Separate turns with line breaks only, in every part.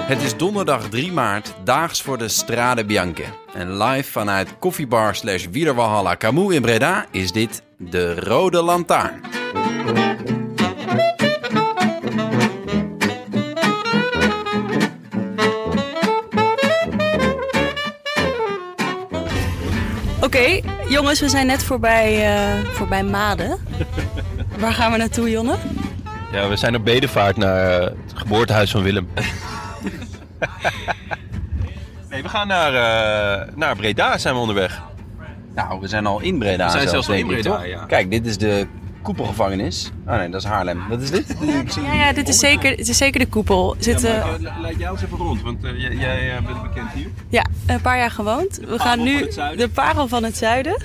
Het is donderdag 3 maart, daags voor de Strade Bianche. En live vanuit koffiebar slash Wielerwalhalla Camus in Breda is dit de Rode Lantaarn.
Oké, jongens, we zijn net voorbij, eh, voorbij Maden. Waar gaan we naartoe, Jonne?
Ja, we zijn op bedevaart naar eh, het geboortehuis van Willem. nee, we gaan naar, eh, naar Breda zijn we onderweg.
Nou, we zijn al in Breda.
We zijn zelfs al
denk
in
ik,
Breda,
toch?
ja.
Kijk, dit is de koepelgevangenis. Oh nee, dat is Haarlem. Dat is dit?
Ja, ja dit, is zeker, dit is zeker de koepel. Zit, eh, ja,
leid jij ons even rond, want eh, jij, bent bekend hier.
een paar jaar gewoond. We gaan
parel van
nu
het zuiden.
de parel van het zuiden.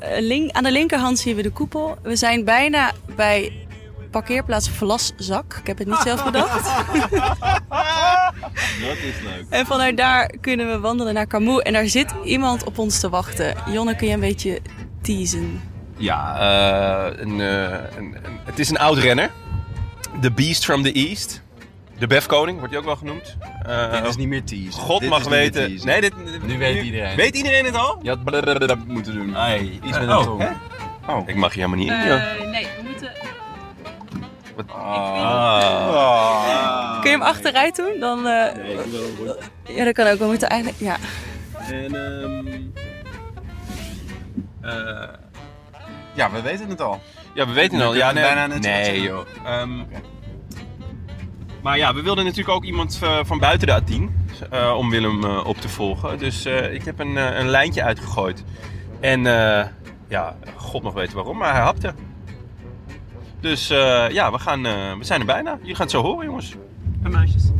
Eh, link, aan de linkerhand zien we de koepel. We zijn bijna bij parkeerplaats Vlaszak. Ik heb het niet zelf bedacht.
Dat is leuk.
En vanuit daar kunnen we wandelen naar Camus. En daar zit iemand op ons te wachten. Jonne, kun je een beetje teasen?
Ja, eh, een, eh, een, een- het is een oud renner. The Beast from the East. De Befkoning wordt hij ook wel genoemd. Eh,
dit is niet meer teaser.
God
Dit
mag
is niet meer
weten.
teaser.
Nee, dit, dit-
Nu weet iedereen.
Weet iedereen het al?
Je had blablabla moeten doen.
Nee, iets
met een tong.
Oh. Ik mag hier helemaal niet in. joh.
Eh, nee, we moeten...
Wat-
Ah. Kun je hem achteruit doen? Dan, eh, Ja, dat kan ook. We moeten eigenlijk... Ja.
En, ehm, eh,
Ja, we weten het al.
ja, we weten het al.
Dan kunnen we
Nou, Ja, nee,
bijna net zo
nee
goed
joh. Ehm, Maar ja, we wilden natuurlijk ook iemand eh, van buiten de A10 eh, om Willem eh, op te volgen. Dus eh, ik heb een, eh, een lijntje uitgegooid. En eh, ja, god nog weet waarom, maar hij hapte. Dus eh, ja, we, gaan, eh, we zijn er bijna. Jullie gaan het zo horen, jongens. En meisjes. Waar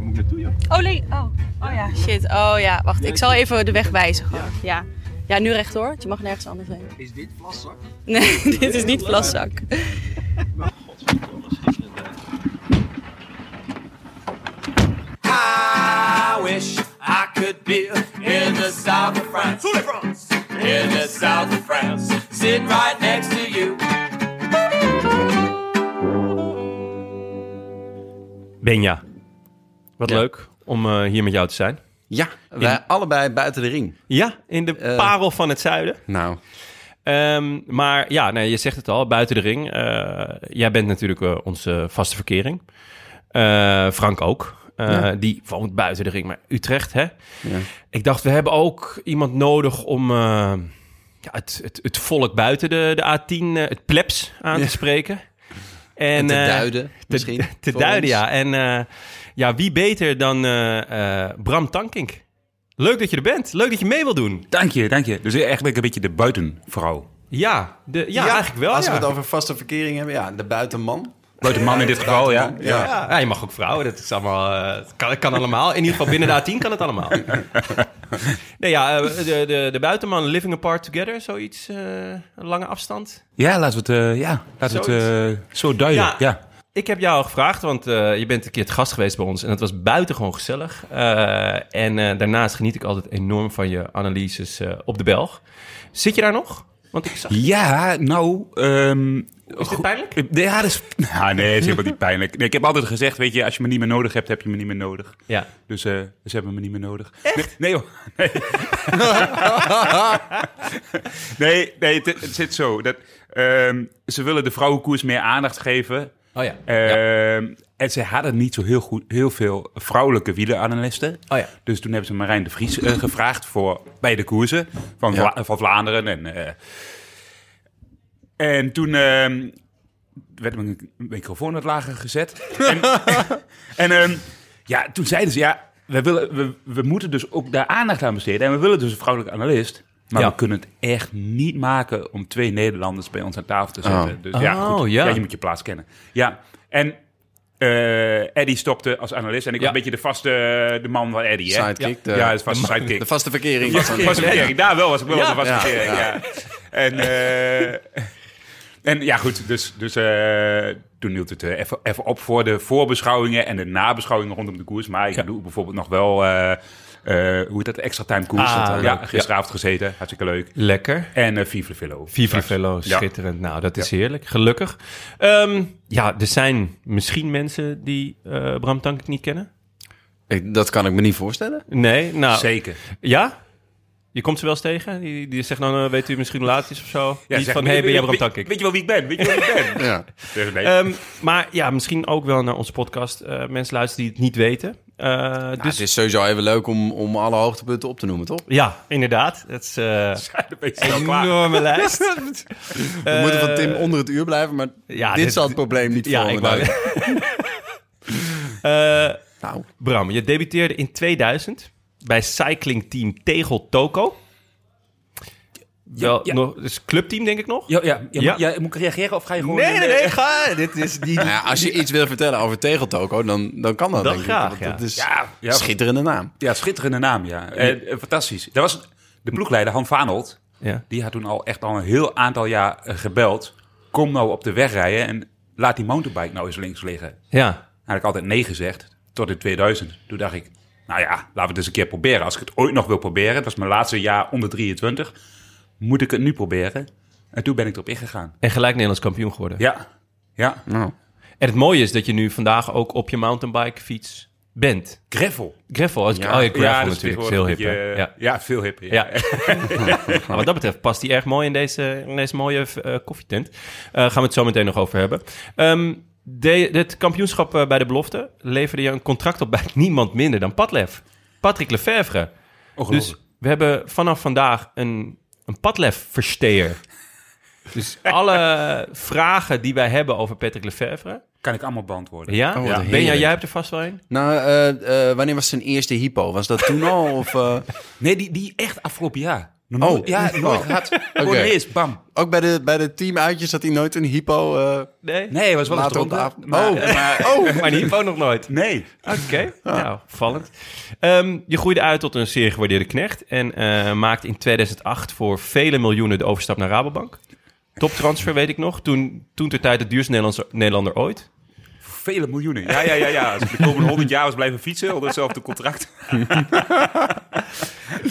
moet ik naartoe, joh?
Oh, nee. Oh. oh ja, shit. Oh ja, wacht. Ik zal even de weg wijzen gewoon. Ja. Ja, nu rechtdoor. want Je mag nergens anders heen.
Is dit plaszak?
Nee, dit is niet Vlaszak.
I wish I could be in the south of France. In the south of France. Sitting right next to you.
Benja, wat
Ja.
leuk om eh, hier met jou te zijn.
Ja, wij allebei buiten de ring.
Ja, in de
Eh.
parel van het zuiden.
Nou,
Ehm, maar ja, nee, je zegt het al, buiten de ring. Eh, jij bent natuurlijk eh, onze vaste verkering. Eh, Frank ook. Eh, Die woont buiten de ring, maar Utrecht, hè? Ik dacht, we hebben ook iemand nodig om eh, ja, het, het, het volk buiten de, de A10, eh, het plebs, aan
Ja.
te spreken.
en te
eh,
duiden misschien.
te, te
voor
duiden,
ons.
ja. En eh, ja, wie beter dan eh, eh, Bram Tankink? Leuk dat je er bent. Leuk dat je mee wil doen.
Dank je, dank je. Dus eigenlijk een beetje de buitenvrouw.
Ja, de, ja, eigenlijk wel.
Als
ja.
we het over vaste verkering hebben, ja, de buitenman.
Buitenman in dit geval, ja.
Ja.
Ja. je mag ook vrouwen. Dat is allemaal, eh, het kan, het kan allemaal. In ieder geval binnen de A10 kan het allemaal. nee, ja, eh, de, de, de buitenman living apart together, zoiets. eh, een lange afstand.
Ja, laten we het, eh, ja, laten we het eh, zo duiden.
Ja.
Ja.
Ik heb jou gevraagd, want eh, je bent een keer het gast geweest bij ons. En dat was buitengewoon gezellig. Eh, en eh, daarnaast geniet ik altijd enorm van je analyses eh, op de Belg. Zit je daar nog? Want ik zag...
Ja, nou... ehm,
dit
goed-
pijnlijk?
Ja, dat is... Nou, nee, het is helemaal niet pijnlijk. Nee, ik heb altijd gezegd, weet je, als je me niet meer nodig hebt, heb je me niet meer nodig.
Ja.
Dus eh, ze hebben me niet meer nodig. Nee, nee hoor. Nee, nee, nee het, het zit zo. Dat, ehm, ze willen de vrouwenkoers meer aandacht geven.
Oh ja.
Ehm, En ze hadden niet zo heel, goed, heel veel vrouwelijke wielenanalisten.
Oh ja.
Dus toen hebben ze Marijn de Vries eh, gevraagd voor, bij de koersen van, Vla- van Vlaanderen. En, eh, en toen ehm, werd mijn microfoon wat lager gezet. en en ehm, ja, toen zeiden ze, ja, we, willen, we, we moeten dus ook daar aandacht aan besteden. En we willen dus een vrouwelijke analist. Maar
Ja.
we kunnen het echt niet maken om twee Nederlanders bij ons aan tafel te zetten.
Oh.
Dus ja,
Oh,
goed.
ja.
ja, je moet je plaats kennen. Ja, en eh Eddie stopte als analist. En ik
Ja.
was een beetje de vaste eh, de man van Eddie. Hè?
Sidekick,
Ja,
de-
ja, de vaste sidekick.
De vaste verkering.
Ja, was een verkering. Daar wel was ik wel
Ja.
een vaste
Ja,
verkering,
ja.
ja. En, eh, en ja, goed. Dus, dus eh, toen hield het eh, even, even op voor de voorbeschouwingen en de nabeschouwingen rondom de koers. Maar ik doe bijvoorbeeld nog wel, eh, eh, hoe heet dat, de extra time koers.
Ah,
ja,
leuk.
gisteravond gezeten. Hartstikke leuk.
Lekker.
En eh Vive le Velo.
Viva Velo,
Ja.
schitterend. Nou, dat is heerlijk. Gelukkig. Ehm, ja, er zijn misschien mensen die eh, Bram Tankink niet kennen.
Ik- dat kan ik me niet voorstellen.
Nee, nou...
Zeker.
Ja? Je komt ze wel eens tegen? Die, die zegt dan, eh, weet u misschien hoe laat het is of zo?
Ja,
Niet
zeg,
van,
weet-
hey, ben jij
weet-
Bram
weet-
Tankink?
Weet je wel wie ik ben? Weet je wel wie ik ben?
Ja.
Dus nee.
Ehm, maar ja, misschien ook wel naar onze podcast. eh, mensen luisteren die het niet weten. Eh,
dus...
Nou.
dus
Het is sowieso even leuk om, om alle hoogtepunten op te noemen, toch?
ja, inderdaad. Dat is eh,
Dan ben je snel
een
klaar.
enorme lijst.
We moeten van Tim onder het uur blijven, maar
Ja,
dit,
dit-
zal het probleem niet
Ja,
voor
ik wou... Eh,
Nou,
Bram, je debuteerde in 2000 bij cyclingteam Tegel Toko. Wel,
ja.
nog, dus clubteam denk ik nog?
Ja, ja, ja,
Ja.
ja, moet ik reageren of ga je gewoon...
Nee, nee, nee, ga. Dit is die...
nou ja, als je iets wil vertellen over Tegeltoko, dan, dan kan dat,
Dat
denk
graag,
ik.
ja.
Dat is
Ja, ja.
een schitterende naam.
Ja, schitterende naam, ja. Eh, eh, fantastisch. Dat was de ploegleider Han Vanold.
Ja.
Die had toen al echt al een heel aantal jaar eh, gebeld. Kom nou op de weg rijden en laat die mountainbike nou eens links liggen.
ja.
Had ik altijd nee gezegd, tot in 2000. Toen dacht ik, nou ja, laten we het eens een keer proberen. Als ik het ooit nog wil proberen, het was mijn laatste jaar onder 23, moet ik het nu proberen. En toen ben ik erop ingegaan.
En gelijk Nederlands kampioen geworden.
Ja, ja.
Nou,
En het mooie is dat je nu vandaag ook op je mountainbike fiets bent.
Gravel.
Gravel. Als, Oh ja, gravel natuurlijk. Is heel hip. hè?
Ja,
ja.
eh, ja, veel hipper. Ja.
Ja. Maar wat dat betreft past die erg mooi in deze, in deze mooie eh, koffietent. Eh, gaan we het zo meteen nog over hebben. Ehm de, het kampioenschap eh, bij de belofte leverde je een contract op bij niemand minder dan Padlef. Patrick Lefevre. Dus
Ongelooflijk.
we hebben vanaf vandaag een, een Padlef-versteer. Dus alle vragen die wij hebben over Patrick Lefevre.
Kan ik allemaal beantwoorden.
Ja?
wat
ja. Benja,
heerlijk.
jij hebt er vast wel een?
nou eh, eh, wanneer was zijn eerste hypo? Was dat toen al? Of, eh,
Nee, die, die echt afgelopen jaar.
Oh.
ja, nooit
Oh.
gehad. Gewoon ineens, bam.
ook bij de, bij de teamuitjes had hij nooit een hypo. eh,
Nee.
Nee, was wel eens
Later op de
dronken,
avond.
maar-
Oh.
maar-
Oh, maar die ook nog nooit.
nee.
Oké, nou, vallend. Ehm, je groeide uit tot een zeer gewaardeerde knecht en eh, maakte in 2008 voor vele miljoenen de overstap naar Rabobank. Toptransfer weet ik nog, toen, toen ter tijd de duurste Nederlandse, Nederlander ooit.
Vele miljoenen. Ja, ja, ja, ja. Als ik de komende 100 jaar was blijven fietsen onder hetzelfde contract.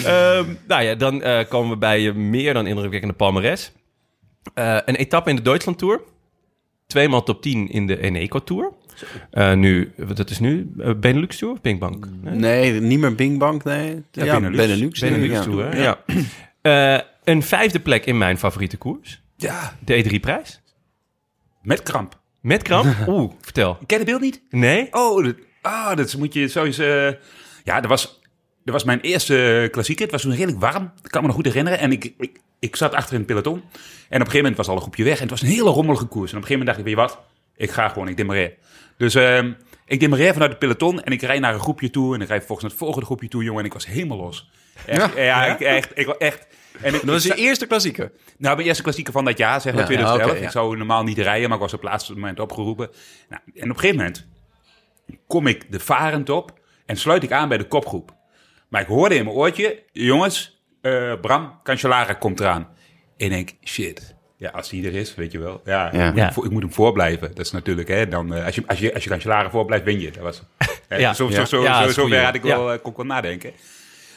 Ehm, nou ja, dan eh, komen we bij je meer dan indrukwekkende palmares. Eh, een etappe in de Duitsland Tour. Tweemaal top 10 in de Eneco Tour. Eh, nu, wat dat is nu? Eh, Benelux Tour of Pinkbank? Eh,
nee, niet meer Bing Bang, nee. Ja,
Benelux.
Mm. Benelux
ja.
Tour, hè? Ja. Eh, een vijfde plek in mijn favoriete koers.
Ja.
De E3-prijs.
Met kramp.
Met kramp? Oeh, vertel.
Ken je het beeld niet?
Nee?
Oh, dat, ah, dat moet je zo eens... eh, ja, dat was, dat was mijn eerste klassieker. Het was toen redelijk warm. Ik kan me nog goed herinneren. En ik, ik, ik zat achter in het peloton. En op een gegeven moment was al een groepje weg. En het was een hele rommelige koers. En op een gegeven moment dacht ik, weet je wat? Ik ga gewoon, ik demareer. Dus ehm, ik demareer vanuit het peloton. En ik rijd naar een groepje toe. En ik rijd vervolgens naar het volgende groepje toe, jongen. En ik was helemaal los. Echt, ja, ik, echt, ik, echt. En ik,
Dat was
ik
je eerste klassieker.
Nou, mijn eerste klassieker van dat jaar, zeg maar
Ja,
2011.
ja, oké,
Ik
ja.
zou normaal niet rijden, maar ik was op het laatste moment opgeroepen. Nou, en op een gegeven moment kom ik de varend op en sluit ik aan bij de kopgroep. Maar ik hoorde in mijn oortje, jongens, eh, Bram, Cancellara komt eraan. En ik, shit. Ja, als die er is, weet je wel.
Ja.
Ja, Ik, moet hem
Ja.
voor- ik moet hem voorblijven. Dat is natuurlijk, hè, dan, eh, als, je, als, je, als je Cancellara voorblijft, win je. Dat was, hè,
Ja.
Zo, zo,
Ja.
zo,
Ja,
zo,
dat is
zo
goeie.
ver had ik
Ja.
wel, eh, kon ik wel nadenken.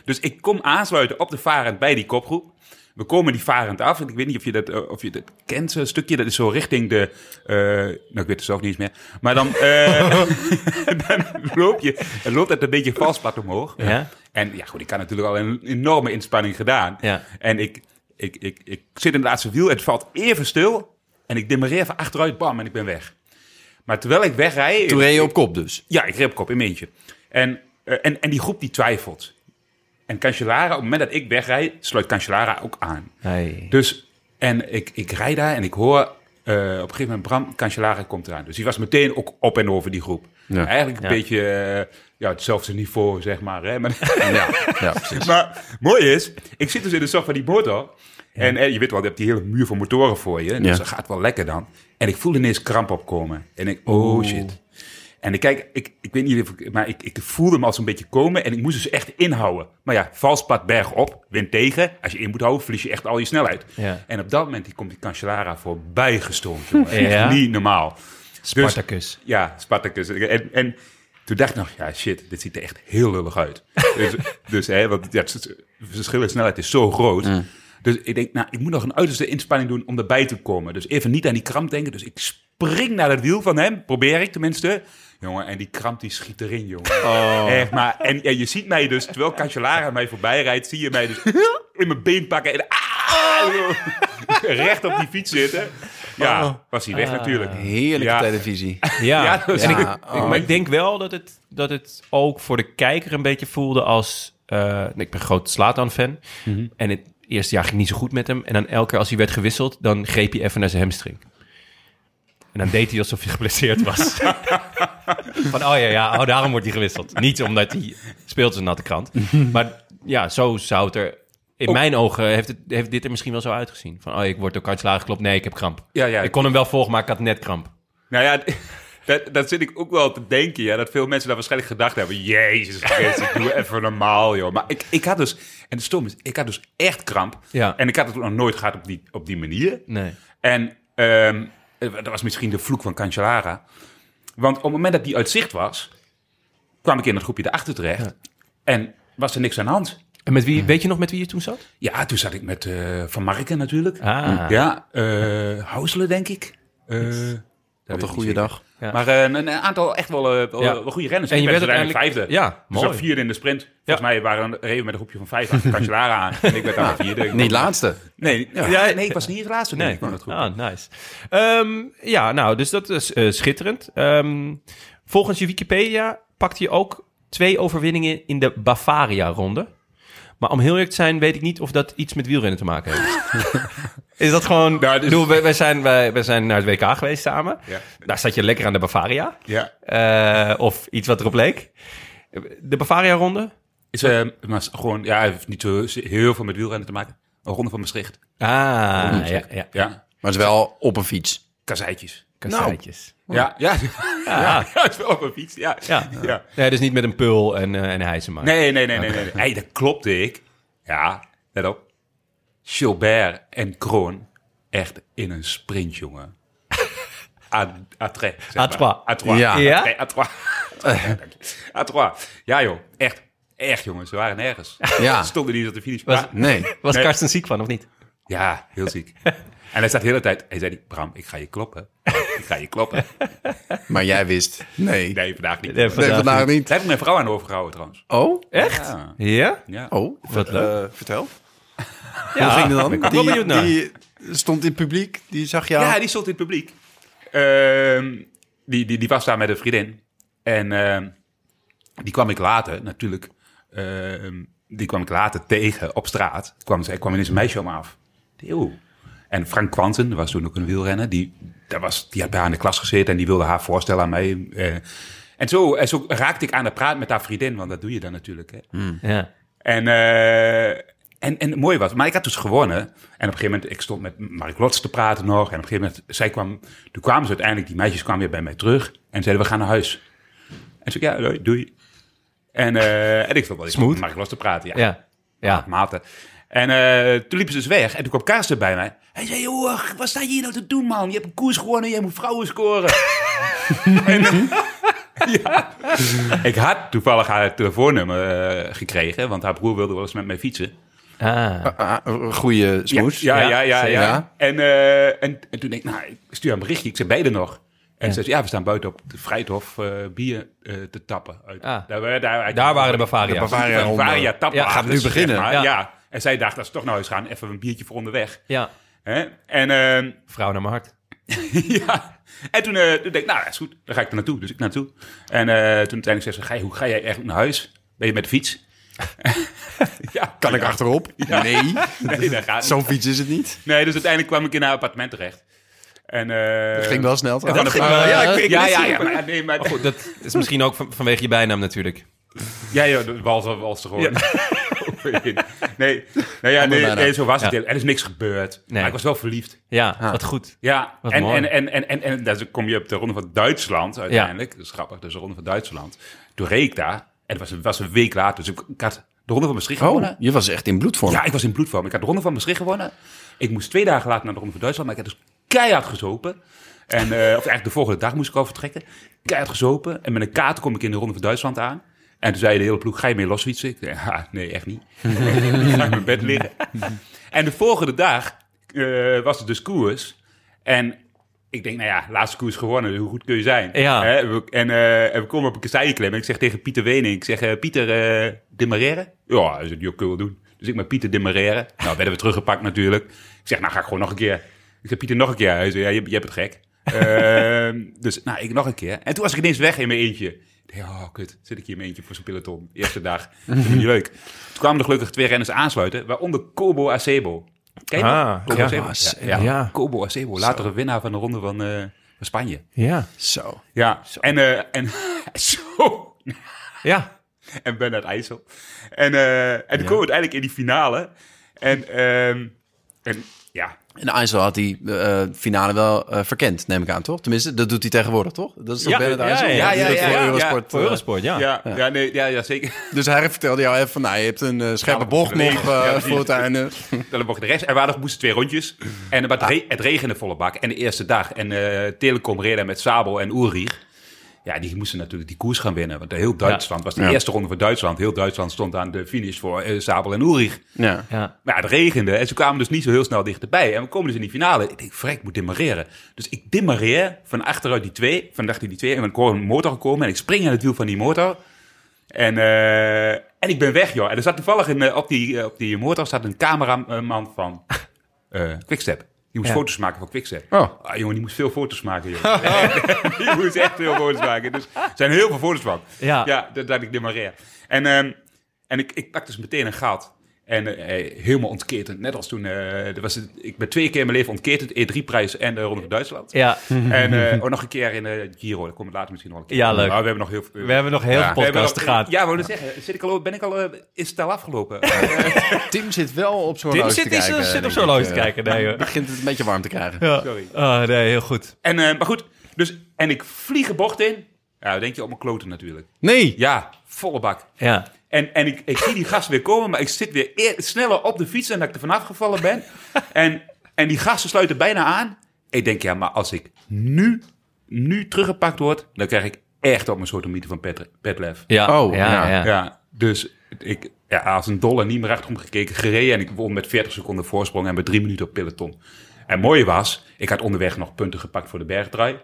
Dus ik kom aansluiten op de varend bij die kopgroep. We komen die varend af. En ik weet niet of je dat, eh, of je dat kent, zo'n stukje. Dat is zo richting de... eh, nou, ik weet het zelf niet eens meer. Maar dan, eh, dan loop je... Dan loopt het een beetje valsplat omhoog.
Ja.
En ja, goed, ik had natuurlijk al een enorme inspanning gedaan.
Ja.
En ik, ik, ik, ik zit in het laatste wiel. Het valt even stil. En ik demareer even achteruit. Bam, en ik ben weg. Maar terwijl ik wegrij...
Toen reed je op kop dus.
Ja, ik reed op kop in mijn eentje. En, eh, en, en die groep die twijfelt. En Cancellara, op het moment dat ik wegrijd, sluit Cancellara ook aan.
Nee.
Dus, en ik, ik rijd daar en ik hoor eh, op een gegeven moment, Bram Cancellara komt eraan. Dus die was meteen ook op en over die groep.
Ja.
Eigenlijk een
Ja.
beetje eh, ja, hetzelfde niveau, zeg maar. Hè? Maar
Ja, ja, precies.
maar mooi is, ik zit dus in de zak van die motor. En eh, je weet wel, je hebt die hele muur van motoren voor je. Dus
Ja.
dat gaat wel lekker dan. En ik voelde ineens kramp opkomen. En ik, oh shit. En ik kijk, ik, ik weet niet of ik, maar ik, ik voelde hem al zo'n beetje komen. En ik moest dus echt inhouden. Maar ja, vals pad bergop, wind tegen. Als je in moet houden, verlies je echt al je snelheid.
Ja.
En op dat moment die komt die Cancellara voorbij gestormd. jongen.
Ja.
Echt Niet normaal. Dus-
Spartacus.
ja, Spartacus. En, en toen dacht ik nog, ja shit, dit ziet er echt heel lullig uit. dus dus hè, want ja, het- het verschil in snelheid is zo groot. Dus ik denk, nou, ik moet nog een uiterste inspanning doen om erbij te komen. Dus even niet aan die kramp denken. Dus ik spring naar het wiel van hem, probeer ik tenminste. Jongen, en die kramp die schiet erin, jongen. Echt, maar, en, en je ziet mij dus, terwijl Cancellara mij voorbij rijdt, zie je mij dus in mijn been pakken en ah, recht op die fiets zitten. Ja, was hij weg natuurlijk.
Heerlijke
Ja.
televisie.
Ah, Ja, oh.
Ja, dat is-
en ik,
Ja,
ik- maar ik denk wel dat het, dat het ook voor de kijker een beetje voelde als... eh, ik ben groot Slatan-fan. En het eerste jaar ging niet zo goed met hem. En dan elke keer als hij werd gewisseld, dan greep hij even naar zijn hamstring. En dan deed hij alsof hij geblesseerd was. Van, oh ja, ja, oh, daarom wordt hij gewisseld. Niet omdat hij speelt als een natte krant. Maar ja, zo zou het er... In mijn ogen heeft, het, heeft dit er misschien wel zo uitgezien. Van, oh, ik word door kartslagen geklopt. Nee, ik heb kramp.
Ja, ja.
Ik kon hem wel volgen, maar ik had net kramp.
Nou ja, dat, dat zit ik ook wel te denken. Ja, dat veel mensen daar waarschijnlijk gedacht hebben. Jezus Christus, ik doe even normaal, joh. Maar ik, ik had dus... En het stom is, ik had dus echt kramp.
Ja.
En ik had het ook nog nooit gehad op die, op die manier.
Nee.
En ehm, dat was misschien de vloek van Cancellara. Want op het moment dat die uit zicht was... kwam ik in dat groepje erachter terecht. En was er niks aan de hand.
En met wie, weet je nog met wie je toen zat?
Ja, toen zat ik met eh, Van Marken natuurlijk. Mm.
Ah.
Ja, eh Houselen denk ik. Eh
Wat een
weet ik
goede
niet
dag.
Ja.
Maar eh, een, een aantal echt wel, eh, wel,
Ja.
wel goede renners.
En je
Ik
werd
ben uiteindelijk
uiteindelijk-
vijfde.
ja,
dus
mooi.
ook vierde in de sprint. Volgens mij waren, reden we met een groepje van vijf achter Cancellara aan. En ik werd daar vierde.
Niet laatste.
Nee,
Ja.
ja, nee, ik was niet het laatste. Nee, ik kwam dat goed.
Ah, nice. Ehm, ja, nou, dus dat is eh, schitterend. Ehm, volgens je Wikipedia pakt je ook twee overwinningen in de Bavaria-ronde. Maar om heel eerlijk te zijn, weet ik niet of dat iets met wielrennen te maken heeft. is dat gewoon...
Nou, dus-
Doe, wij, wij zijn, wij, wij zijn naar het WK geweest samen.
Ja.
Daar zat je lekker aan de Bavaria.
Ja.
Eh, of iets wat erop leek. De Bavaria-ronde?
Is, eh, maar is gewoon, ja, heeft niet zo heel veel met wielrennen te maken. Een ronde van Maastricht.
Ah, ja, ja. Nou,
Ja,
Maar het is wel op een fiets.
kazeitjes.
Kasseitjes.
Ja, ja.
Ah.
Ja, het is wel op een fiets. Ja.
Ja.
ja.
Nee, dus niet met een pul en, eh en hijsen maar.
Nee, nee, nee, nee. nee, nee. Hey, dat klopte ik. Ja, let op. Gilbert en Kroon echt in een sprint, jongen. A, a tres. zeg
À
maar.
trois.
À trois.
Ja.
Ja?
Nee, à trois. À trois. Ja, joh. Echt. Echt, jongen. Ze waren nergens.
Ja.
Ze Stonden niet op de finish.
Was-
Maar-
Nee.
Was
Nee.
Karsten ziek van, of niet?
ja, heel ziek. En hij staat de hele tijd... Hij zei, die, Bram, ik ga je kloppen. Ik ga je kloppen.
Maar jij wist. Nee. Nee,
Nee, vandaag niet.
Nee,
Daar
vandaag
vandaag niet.
heb ik mijn vrouw aan overgehouden, trouwens.
Oh?
Echt?
Ja.
Ja?
Ja.
Oh.
Wat leuk.
vertel.
Ja.
Hoe ging het dan?
Ik ben wel benieuwd naar.
die stond in het publiek. Die zag jou.
Ja, die stond in het publiek. Ehm, die, die, die was daar met een vriendin. En ehm, die kwam ik later, natuurlijk. ehm, die kwam ik later tegen op straat. Toen Kwam, zij kwam ineens een meisje om me af. Eeuw. En Frank Quanten, dat was toen ook een wielrenner. Die, dat was, die had bij haar in de klas gezeten en die wilde haar voorstellen aan mij. eh. en, zo, en zo raakte ik aan de praat met haar vriendin, want dat doe je dan natuurlijk. Hè.
Ja.
En, eh, en, en het mooie was, maar ik had dus gewonnen. En op een gegeven moment, ik stond met Mark Lots te praten nog. En op een gegeven moment, zij kwam, toen kwamen ze uiteindelijk, die meisjes kwamen weer bij mij terug. En zeiden, we gaan naar huis. En ze ja, doei. doei. En, eh, en ik stond wel eens met Mark Lots te praten. Ja,
Ja. Ja.
maten. En eh, toen liepen ze dus weg. En toen kwam Kaarsen bij mij. Hij zei, joh, wat sta je hier nou te doen, man? Je hebt een koers gewonnen, jij moet vrouwen scoren. en, eh, ja. Ik had toevallig haar telefoonnummer eh, gekregen, want haar broer wilde wel eens met mij fietsen.
Ah.
Ah, een goede smoes.
Ja, ja, ja, ja.
zeker.
ja. En, eh, en, en toen denk ik, nou, ik stuur hem een berichtje. Ik zei, beide nog? En ze zei, ja, we staan buiten op de Vrijthof eh, bier eh, te tappen. Uit,
Ah.
daar, daar, daar,
Daar waren de Bavaria's.
De Bavaria
Bavaria,
onder.
tapwagens,
Ja, gaat
nu beginnen.
zeg maar.
Ja.
Ja. En zij dacht, als we toch naar huis gaan, even een biertje voor onderweg.
Ja.
Hè? En, ehm,
Vrouw naar mijn hart.
ja. en toen, eh, toen denk ik, nou, dat is goed. Dan ga ik er naartoe. Dus ik naartoe. En eh, toen uiteindelijk zei ze, "Gij, hoe ga jij eigenlijk naar huis? Ben je met de fiets? ja,
Kan ik achterop? Nee.
Nee, dat gaat niet.
Zo'n fiets is het niet.
Nee, dus uiteindelijk kwam ik in haar appartement terecht. Eh, En, eh,
Het ging wel snel.
Ja,
trouwens.
dat ging wel. Ja, ik- ik-
Ja, ja, ja,
maar- nee, maar-
Goed, Oh, dat is misschien ook van- vanwege je bijnaam natuurlijk.
Ja, ja, de wals was te gewoon. nee, nou ja,
Andere
nee,
bijna.
nee, zo was het.
Ja.
Er is niks gebeurd.
Nee.
Maar ik was wel verliefd.
Ja, wat goed.
Ja,
Wat
en,
mooi.
en, en, en, en, en dan kom je op de Ronde van Duitsland uiteindelijk. Dat is grappig, dus de Ronde van Duitsland. Toen reed ik daar en het was een, was een week later. Dus ik, ik had de Ronde van Maastricht
Oh,
gewonnen.
je was echt in bloedvorm.
Ja, ik was in bloedvorm. Ik had de Ronde van Maastricht gewonnen. Ik moest twee dagen later naar de Ronde van Duitsland, maar ik had dus keihard gezopen. En, eh, of eigenlijk de volgende dag moest ik al vertrekken. Keihard gezopen. En met een kaart kom ik in de Ronde van Duitsland aan. En toen zei de hele ploeg, ga je mee losfietsen? Ik zei, "Ha, nee, echt niet. ik ga in mijn bed liggen. En de volgende dag eh, was het dus koers. En ik denk, nou ja, laatste koers gewonnen, dus hoe goed kun je zijn?
Ja.
Hè, we- en, eh, en we komen op een kasseienklem en ik zeg tegen Pieter Wening, ik zeg, eh, Pieter, eh demareren? Ja, dat is het jokke wil doen. Dus ik met Pieter demareren. Nou, werden we teruggepakt natuurlijk. Ik zeg, nou ga ik gewoon nog een keer. Ik zeg, Pieter, nog een keer. Hij zei, ja, je, je hebt het gek. Ehm, dus, nou, ik nog een keer. En toen was ik ineens weg in mijn eentje. Ik dacht, oh, kut, zit ik hier in mijn eentje voor zo'n peloton. Eerste dag. Dat is niet leuk. Toen kwamen er gelukkig twee renners aansluiten, waaronder Kobo Acebo. Ken je dat?
Ah,
Kobo
ja.
Acebo.
Acebo.
Ja, ja.
Ja.
Kobo Acebo, latere winnaar van de ronde van eh, van Spanje.
Ja.
Zo.
Ja, en, eh, en, zo.
Ja.
en Bernard IJssel. En, eh, en toen komen we uiteindelijk in die finale. En, ehm, en ja,
En IJssel had die eh, finale wel eh, verkend, neem ik aan, toch? Tenminste, dat doet hij tegenwoordig, toch? Dat is toch
Ja,
Bernard
ja,
IJssel?
ja,
Die
ja,
doet dat
ja,
voor
ja,
Eurosport.
Voor
eh,
Eurosport, Oh, ja.
ja, ja. nee, ja, ja zeker.
Dus hij vertelde jou even van, nou, je hebt een eh, scherpe
Ja,
bocht nog
nee,
eh,
ja, precies.
voor het einde.
Dan mocht de rest. Er waren, moesten twee rondjes. En, maar het, re- het regende volle bak. En de eerste dag. En eh, Telecom reed daar met Sabo en Ulrich. Ja, die moesten natuurlijk die koers gaan winnen. Want heel Duitsland was de
Ja.
eerste ronde voor Duitsland. Heel Duitsland stond aan de finish voor eh, Sabel en Ulrich.
Ja.
Ja.
Maar ja, het regende en ze kwamen dus niet zo heel snel dichterbij. En we komen dus in die finale. Ik denk, vrek, ik moet demareren. Dus ik demareer van achteruit die twee, van achter die twee. En dan hoor een motor gekomen en ik spring aan het wiel van die motor. En, eh, en ik ben weg, joh. En er zat toevallig in, eh, op, die, eh, op die motor zat een cameraman van eh Quickstep. Die moest
Ja.
foto's maken van Quickstep.
Oh.
Ah, jongen, die moest veel foto's maken, joh. die moest echt veel foto's maken. Dus er zijn heel veel foto's van.
Ja.
Ja, dat, dat ik demareer. En, ehm, en ik, ik pak dus meteen een gat. En eh, eh, helemaal ontketend. Net als toen... eh, er was, het- ik ben twee keer in mijn leven ontketend. E3-prijs en de Ronde van Duitsland.
Ja.
En eh, ook nog een keer in de Giro. Daar kom ik later misschien nog een keer
Ja,
op.
leuk.
Maar we hebben nog heel veel...
We hebben nog heel
Ja.
veel
We hebben
podcasts
nog-
te gaan.
Ja, wou ik zeggen. Zit ik al, ben ik al... eh, is het al afgelopen?
Tim zit wel op zo'n
Tim
horloge
zit,
te
is,
kijken.
zit op
denk
zo'n
ik,
horloge te
eh.
kijken. Nee, joh.
Begint het een beetje warm te krijgen.
Ja.
Sorry.
Ah, nee, heel goed.
en, eh, maar goed. Dus, en ik vlieg een bocht in. Ja, dan denk je op mijn kloten natuurlijk.
Nee!
Ja, volle bak.
Ja.
En, en ik, ik zie die gast weer komen, maar ik zit weer eer- sneller op de fiets dan dat ik er vanaf gevallen ben. En, en die gasten sluiten bijna aan. Ik denk, ja, maar als ik nu, nu teruggepakt word, dan krijg ik echt op mijn soort van Pet- Petlev.
Ja.
Oh, ja.
ja.
Ja, dus ik, ja, als een dolle niet meer achterom gekeken, gereden. En ik won met 40 seconden voorsprong en met drie minuten op peloton. En mooi was, ik had onderweg nog punten gepakt voor de bergtrui.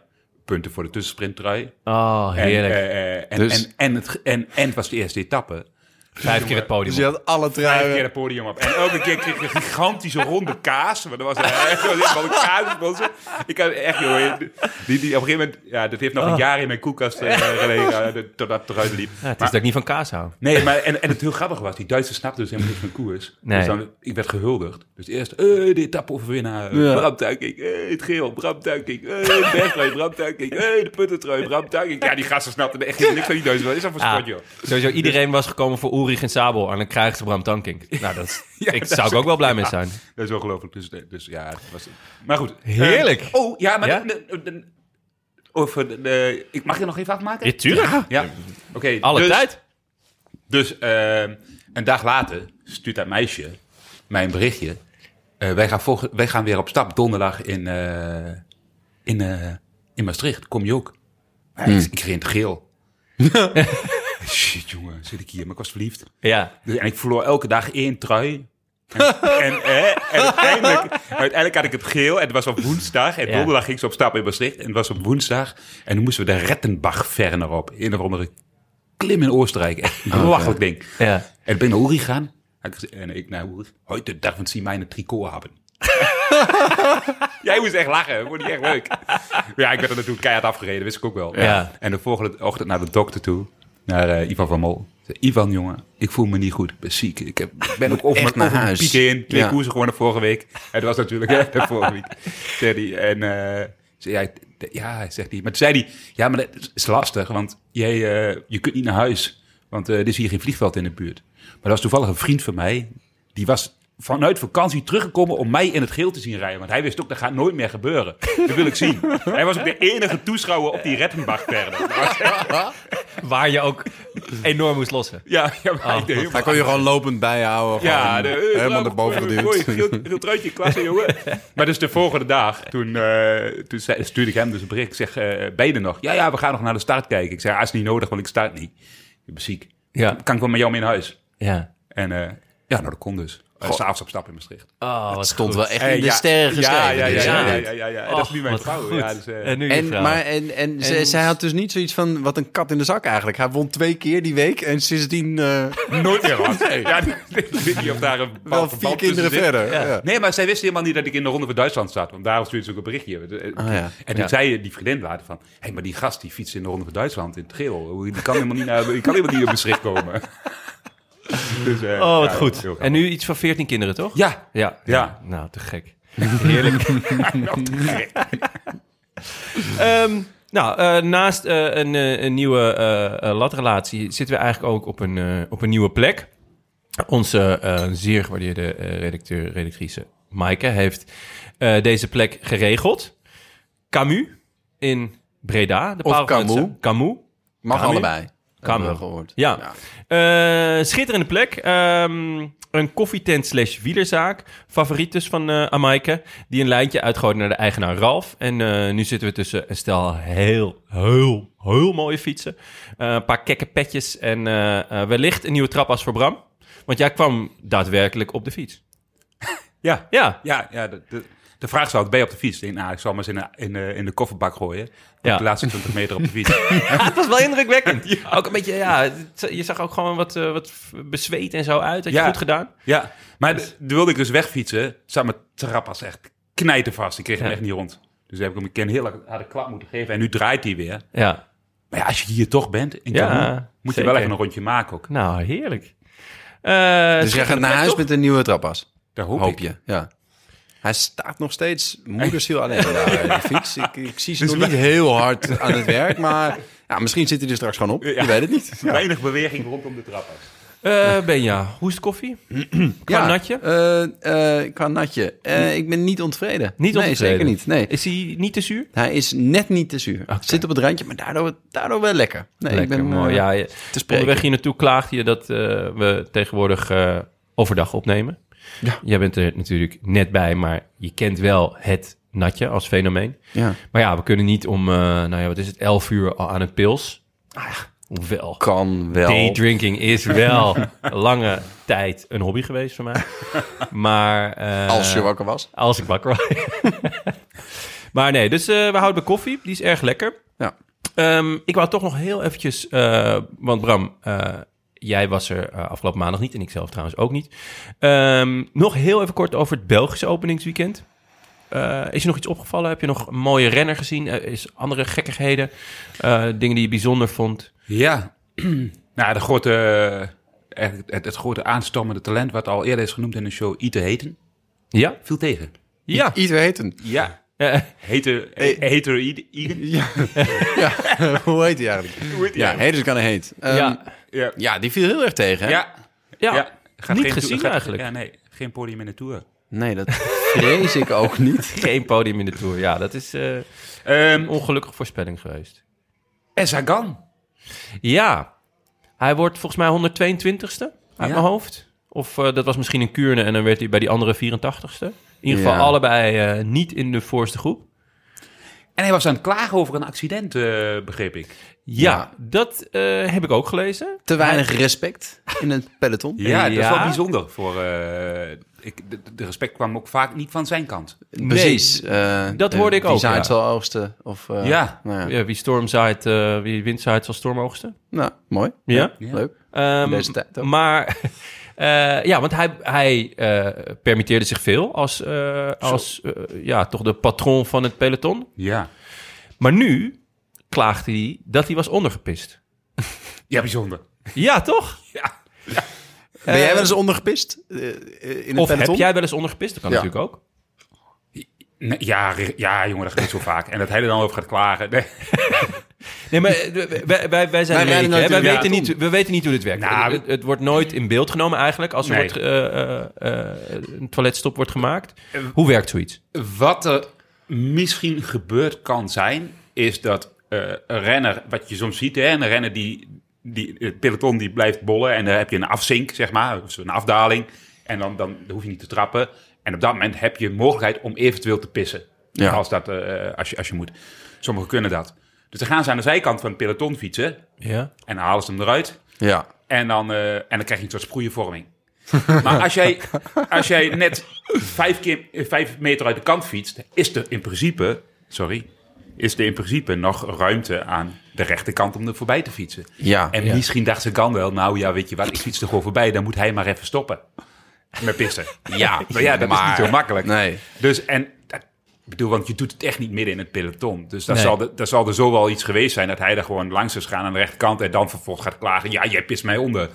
Punten voor de tussensprintrui.
Oh,
En,
heerlijk.
eh, eh, en,
Dus-
en, en, het, en, en het was de eerste etappe.
Vijf keer het podium.
Dus je had alle
Eh,
Vijf keer
truien.
het podium op. En elke keer kreeg ik een gigantische ronde kaas. Maar dat was eh, echt helemaal een kaas. op onze- Ik had echt, joh, eh, die, die, op een gegeven moment, ja, dat heeft nog een jaar in mijn koelkast eh, gelegen. eh, totdat het eruit liep.
Ah. Ja, het is
Maar-
dat ik niet van kaas hou.
Nee, maar en, en het heel grappig was, die Duitsers snapten dus helemaal niet van koers.
Nee.
Dus dan, ik werd gehuldigd. Dus eerst, eh, de etappe overwinnaar, eh, Bram Tuiking, eh, het geel, Bram Tuiking, eh, de bergtrui, Bram Tuiking, eh, de puttentrui, Bram Tuiking. Ja, die gasten snapten echt helemaal niks van die Duitsers. Wat is dat voor
Ah,
sport, joh?
sowieso iedereen was gekomen voor Ulrich en Sabel. En dan krijgt ze Bram Tankink. Nou, dat is-
Ja,
ik
dat
zou
is-
ik ook wel blij mee zijn.
Dat is ongelooflijk. Dus, dus ja, het was, maar goed.
Heerlijk.
Eh, oh, ja, maar...
Ja?
de- de- de- over de, de- ik mag je nog even afmaken?
Ja, tuurlijk.
Ja. Oké.
Alle
dus,
tijd.
Dus eh, een dag later stuurt dat meisje mij een berichtje. Eh, wij, gaan volgen, wij gaan weer op stap donderdag in, eh, in, eh, in Maastricht. Kom je ook? Maar
Hmm.
Ik, ik ging in het geel. Shit, jongen. Zit ik hier? Maar ik was verliefd.
Ja.
Dus- En ik verloor elke dag één trui. En, en, hè, en uiteindelijk, uiteindelijk had ik het geel en het was op woensdag. En
Ja.
donderdag ging ze op stap in Maastricht en het was op woensdag. En toen moesten we de Rettenbach-Ferner op. In of andere klim in Oostenrijk. Echt een belachelijk ding.
Oh, Ja.
En ik ben naar Uri gegaan. Had ik gezegd- En ik naar Uri. Heute darf sie meine Trikot hebben. Jij moest echt lachen. Vond je echt leuk. Maar Ja, ik werd er natuurlijk keihard afgereden. Wist ik ook wel.
Ja.
En de volgende ochtend naar de dokter toe. Naar eh, Ivan van Mol. Ik zei, Ivan, jongen, ik voel me niet goed. Ik ben ziek. Ik, heb, ik ben ook over
echt
mijn
naar
over mijn
huis.
pieken in. Twee
Ja.
koersen gewonnen vorige week. En dat was natuurlijk hè, de vorige week. Zei die, En, eh, Zei hij, "D- ja, zegt hij. Maar toen zei hij, ja, maar dat is lastig, want jij, eh, je kunt niet naar huis, want eh, er is hier geen vliegveld in de buurt. Maar dat was toevallig een vriend van mij, die was vanuit vakantie teruggekomen om mij in het geel te zien rijden. Want hij wist ook, dat gaat nooit meer gebeuren. Dat wil ik zien. Hij was ook de enige toeschouwer op die Rettenbach verder.
Waar je ook enorm moest lossen.
Ja, ja maar ik deed helemaal-
Hij Oh, kon je gewoon lopend bijhouden.
Ja,
gewoon
de,
helemaal naar boven
Mooi,
geduwd.
geel, geel truitje, klasse jongen. maar dus de volgende dag, toen, eh, toen zei, stuurde ik hem dus een bericht. Ik zeg, eh beide nog? Ja, ja, we gaan nog naar de start kijken. Ik zeg, ah, is niet nodig, want ik start niet. Ik ben ziek.
Ja.
Kan ik wel met jou mee naar huis?
Ja.
En eh, ja, nou dat kon dus. Eh, S'avonds op stap in Maastricht.
Oh, wat
Stond wel echt
Eh,
in de
ja,
sterren
Ja,
geschreven.
ja, ja.
dus,
ja,
ja.
ja, ja, ja, ja. En dat is nu mijn vrouw. Ja, dus, eh,
en nu
En,
je vrouw.
maar, en, en, ze-
En-
zij had dus niet zoiets van, wat een kat in de zak eigenlijk. Hij won twee keer die week en sindsdien eh,
nooit meer wat. Ja, ik weet niet of daar een
wel
bepaald
vier
verband tussen
kinderen
zit.
verder. Ja.
Nee, maar zij wist helemaal niet dat ik in de Ronde van Duitsland zat. Want daarom stuurde ze ook een berichtje. Eh,
Ah, ja.
En toen
Ja.
zei die vriendin later van... Hé, hey, maar die gast die fietst in de Ronde van Duitsland in het geel. Die kan helemaal niet, naar, die kan helemaal niet op beschik komen. Dus, eh,
Oh, wat
ja, heel
goed.
grappig.
En nu iets van 14 kinderen, toch?
Ja.
Ja.
Ja.
Nou, te gek. Heerlijk. Ehm, nou, eh, naast eh, een, eh, een nieuwe eh, eh, latrelatie zitten we eigenlijk ook op een, eh, op een nieuwe plek. Onze eh, zeer gewaardeerde eh, redacteur, redactrice Maaike heeft eh, deze plek geregeld. Camus in Breda. De
Of
Paal van het
Camus.
Zu- Camus.
Mag
Kan
allebei.
Kan
hebben we
wel.
gehoord.
Ja. Eh, schitterende plek. Ehm, een koffietent slash wielerzaak. Favoriet dus van eh Amaike. Die een lijntje uitgooit naar de eigenaar Ralf. En eh, nu zitten we tussen een stel heel, heel, heel mooie fietsen. Eh, een paar kekke petjes en eh, eh, wellicht een nieuwe trapas voor Bram. Want jij kwam daadwerkelijk op de fiets.
Ja.
Ja,
Ja, ja de, de, de vraag zou het bij op de fiets. Ik denk, nou, ik zal maar eens in de, in, de- in de kofferbak gooien.
Ja.
De laatste 20 meter op de fiets.
Ah, het was wel indrukwekkend. Ook een beetje, ja, het- je zag ook gewoon wat, eh, wat bezweet en zo uit. Had je
Ja.
goed gedaan?
ja, maar d- toen wilde ik dus wegfietsen. Zat mijn trappas echt knijten vast. Ik kreeg hem
Ja.
echt niet rond. Dus heb ik hem een keer een hele harde klap moeten geven. En nu draait hij weer.
Ja.
Maar ja, als je hier toch bent, in
Ja,
Cameroen, moet je
zeker.
wel even een rondje maken ook.
Nou, heerlijk. Eh,
Dus jij gaat naar huis met een nieuwe trapas.
Daar hoop,
Hoop,
ik.
je. Ja. Hij staat nog steeds moedersiel alleen daar op de fiets. Ik, ik zie ze
Dus
nog
wij-
niet heel hard aan het werk, maar ja, misschien zit hij er straks gewoon op. Je weet het niet.
Weinig beweging rondom de trappers.
Eh, Benja, hoe is de koffie? Qua natje?
eh, eh, qua natje. Eh, ik ben niet ontevreden.
Niet
nee,
ontevreden?
zeker niet. Nee.
Is hij niet te zuur?
Hij is net niet te zuur. Zit op het randje, maar daardoor, daardoor wel lekker. Nee, ik ben,
mooi.
eh,
ja, je-
te spreken.
onderweg hier naartoe klaagde je dat eh, we tegenwoordig eh, overdag opnemen.
Ja.
Jij bent er natuurlijk net bij, maar je kent wel het natje als fenomeen.
Ja.
Maar ja, we kunnen niet om, eh, nou ja, wat is het, 11 uur al aan een pils. Ah ja, hoewel.
Kan wel.
Daydrinking is wel lange tijd een hobby geweest voor mij. Maar, eh,
Als je wakker was.
Als ik wakker was. maar nee, dus eh, we houden bij koffie. Die is erg lekker.
Ja.
Ehm, ik wou toch nog heel eventjes... eh, want Bram, eh, jij was er eh, afgelopen maandag niet. En ik zelf trouwens ook niet. Ehm, nog heel even kort over het Belgische openingsweekend. Eh, is je nog iets opgevallen? Heb je nog een mooie renner gezien? Eh, is andere gekkigheden? Eh, dingen die je bijzonder vond?
Ja. nou, de grote, eh, eigenlijk het, het grote aanstormende talent... wat al eerder is genoemd in de show, Ite Heten,
Ja?
viel tegen.
Ja.
Iets weten.
Ja.
Eh,
Heter, heter Ite. Ite.
Hoe heet hij eigenlijk? Ja, heet is kan hij heet. Ehm,
ja.
Ja.
ja, die viel heel erg tegen. Hè?
Ja.
Ja.
Ja. Gaat
Niet
geen
gezien
gaat-
eigenlijk.
Ja, nee. Geen podium in de Tour.
Nee, dat vrees ik ook niet.
Geen podium in de Tour. Ja, dat is eh, een
Ehm
ongelukkige voorspelling geweest.
en Sagan.
Ja, hij wordt volgens mij 122ste uit
Ja.
mijn hoofd. Of eh, dat was misschien een Kuurne en dan werd hij bij die andere 84ste. In ieder geval
Ja.
allebei eh, niet in de voorste groep.
En hij was aan het klagen over een accident, eh, begreep ik.
Ja,
Ja.
dat eh, heb ik ook gelezen.
Te weinig respect in het peloton.
Ja, dat is
Ja.
wel bijzonder. Voor, eh, ik, de, de respect kwam ook vaak niet van zijn kant.
Precies. eh,
dat hoorde ik
wie
ook,
zaait
ja.
zal oogsten. Of, eh,
Ja.
Nou, ja.
Ja, wie storm zaait, eh, wie wind zaait zal storm oogsten.
Nou, mooi.
Ja.
Ja.
Leuk.
Ehm,
Deze tijd ook.
maar eh, ja, want hij, hij eh, permitteerde zich veel als, eh, als eh, ja, toch de patroon van het peloton.
Ja.
Maar nu klaagde hij dat hij was ondergepist.
Ja, bijzonder.
Ja, toch?
Ben jij wel eens ondergepist eh, in het
Of
peloton?
heb jij wel eens ondergepist? Dat kan
Ja.
natuurlijk ook.
Nee, ja, re- ja, jongen, dat gebeurt zo vaak. En dat hij er dan over gaat klagen. Nee.
Nee, maar eh, wij- wij, wij, wij zijn
Wij rijden
leken, hè. wij
natuurlijk
weten
marathon.
niet, We weten niet hoe dit werkt.
Nou,
het, het wordt nooit in beeld genomen eigenlijk als er
Nee.
wordt, eh, eh, eh, een toiletstop wordt gemaakt. Hoe werkt zoiets?
Wat er misschien gebeurd kan zijn, is dat eh, een renner, wat je soms ziet, hè, een renner die, die, het peloton die blijft bollen en dan heb je een afzink, zeg maar, of een afdaling. En dan, dan hoef je niet te trappen. En op dat moment heb je mogelijkheid om eventueel te pissen.
Ja.
Als, dat, eh, als, je, als je moet. Sommigen kunnen dat. Dus dan gaan ze aan de zijkant van het peloton fietsen
Ja.
en dan halen ze hem eruit.
Ja.
En dan, eh, en dan krijg je een soort sproeienvorming. maar als jij, als jij net vijf, keer, eh, vijf meter uit de kant fietst, is er in principe, sorry, is er in principe nog ruimte aan de rechterkant om er voorbij te fietsen.
Ja.
En misschien dacht ze kan wel, nou ja, weet je wat, ik fiets er gewoon voorbij, dan moet hij maar even stoppen. Met pissen.
Ja,
maar ja, dat is niet zo makkelijk.
Nee.
Dus en, dat- ik bedoel, want je doet het echt niet midden in het peloton. Dus daar
Nee.
zal, de- daar zal er zo wel iets geweest zijn dat hij er gewoon langs is gaan aan de rechterkant en dan vervolgens gaat klagen, ja, jij pist mij onder.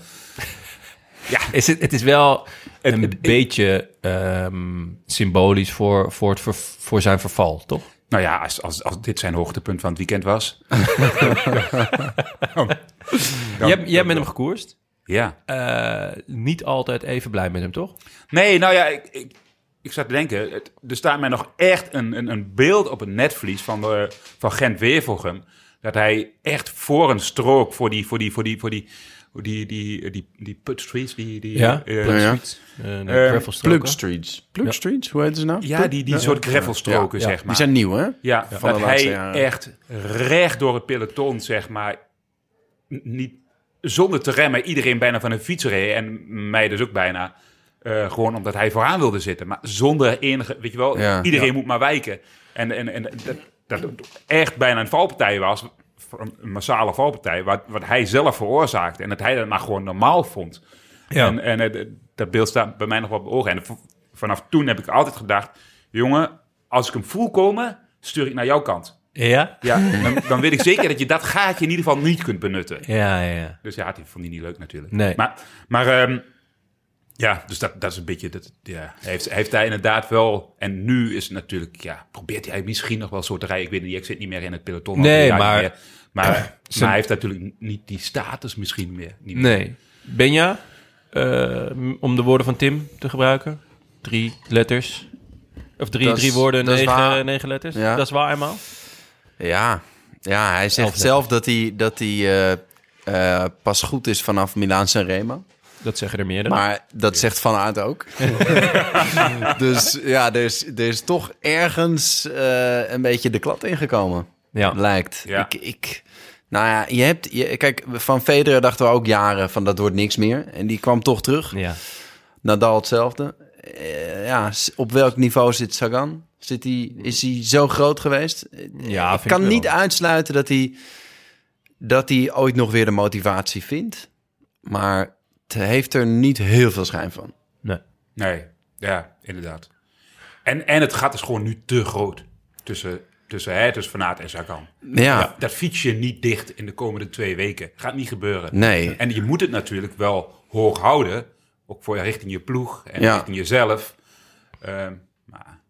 Is het, het is wel een beetje ehm, symbolisch voor, voor, het ver- voor zijn verval, toch?
Nou ja, als, als, als dit zijn hoogtepunt van het weekend was.
jij, jij bent hem gekoerst.
Ja.
Eh, niet altijd even blij met hem, toch?
Nee, nou ja, ik, ik, ik zat te denken. het- er staat mij nog echt een, een, een beeld op het netvlies van, de, van Gent Wevelgem. Dat hij echt voor een strook, voor die, voor die, voor die, voor die, voor die, die, die, die, put streets, die, die,
Ja,
eh,
Ja, ja.
Een
Ehm,
gravelstroken.
Plug Streets. Plug Streets, hoe heet ze nou?
ja,
Plug-
die, die soort greffelstroken,
Ja, ja.
zeg maar.
Die zijn nieuw, hè?
Ja,
Van de
dat hij
laatste jaren.
echt recht door het peloton, zeg maar, n- niet zonder te remmen, iedereen bijna van een fiets reed en mij dus ook bijna. eh, gewoon omdat hij vooraan wilde zitten. Maar zonder enige, weet je wel,
Ja.
iedereen moet maar wijken. En, en, en dat, dat het echt bijna een valpartij was, een massale valpartij, wat, wat hij zelf veroorzaakte. En dat hij dat maar gewoon normaal vond.
Ja.
En, en eh, dat beeld staat bij mij nog wel op de ogen. En v- vanaf toen heb ik altijd gedacht: jongen, als ik hem voel komen, stuur ik naar jouw kant.
Ja?
Ja, dan, dan weet ik zeker dat je dat gaatje in ieder geval niet kunt benutten.
Ja, ja, ja.
Dus ja, die vond hij niet leuk natuurlijk.
Nee.
Maar, maar ehm, ja, dus dat, dat is een beetje... Dat, ja. Hij heeft, hij heeft hij inderdaad wel... En nu is het natuurlijk... Ja, probeert hij misschien nog wel zo te rijden. Ik weet het niet, ik zit niet meer in het peloton. al
Nee,
drie jaar niet
maar-
meer. Maar, maar
Zijn-
hij heeft natuurlijk niet die status misschien meer. Niet meer.
Nee. Benja, eh, m- om de woorden van Tim te gebruiken. Drie letters. Of drie,
Dat is-
drie woorden,
dat is
negen,
waar.
negen letters.
Ja.
Dat is waar eenmaal.
Ja, ja hij zegt
Elf
zelf dat hij, dat hij eh, eh, pas goed is vanaf Milaan Sanremo.
Dat zeggen er meerdere.
Maar dat zegt Van Aert ook. dus ja, er is, er is toch ergens eh, een beetje de klad ingekomen.
Ja.
Lijkt.
Ja.
Ik, ik, nou ja, je hebt... Je, kijk, van Federer dachten we ook jaren van dat wordt niks meer. En die kwam toch terug.
ja.
Nadal hetzelfde. Eh, ja, s- op welk niveau zit Sagan? Zit hij is hij zo groot geweest? Eh,
Ja,
ik
vind ik
kan
wel.
niet uitsluiten dat hij, dat hij ooit nog weer de motivatie vindt. Maar het heeft er niet heel veel schijn van.
Nee.
Nee, ja, inderdaad. En, en het gat is gewoon nu te groot. Tussen, tussen, hè, tussen Van Aert en Sagan.
Ja,
Ja, dat fiets je niet dicht in de komende twee weken. Gaat niet gebeuren.
Nee.
En je moet het natuurlijk wel hoog houden. Ook voor richting je ploeg en
Ja.
richting jezelf. Ehm, maar,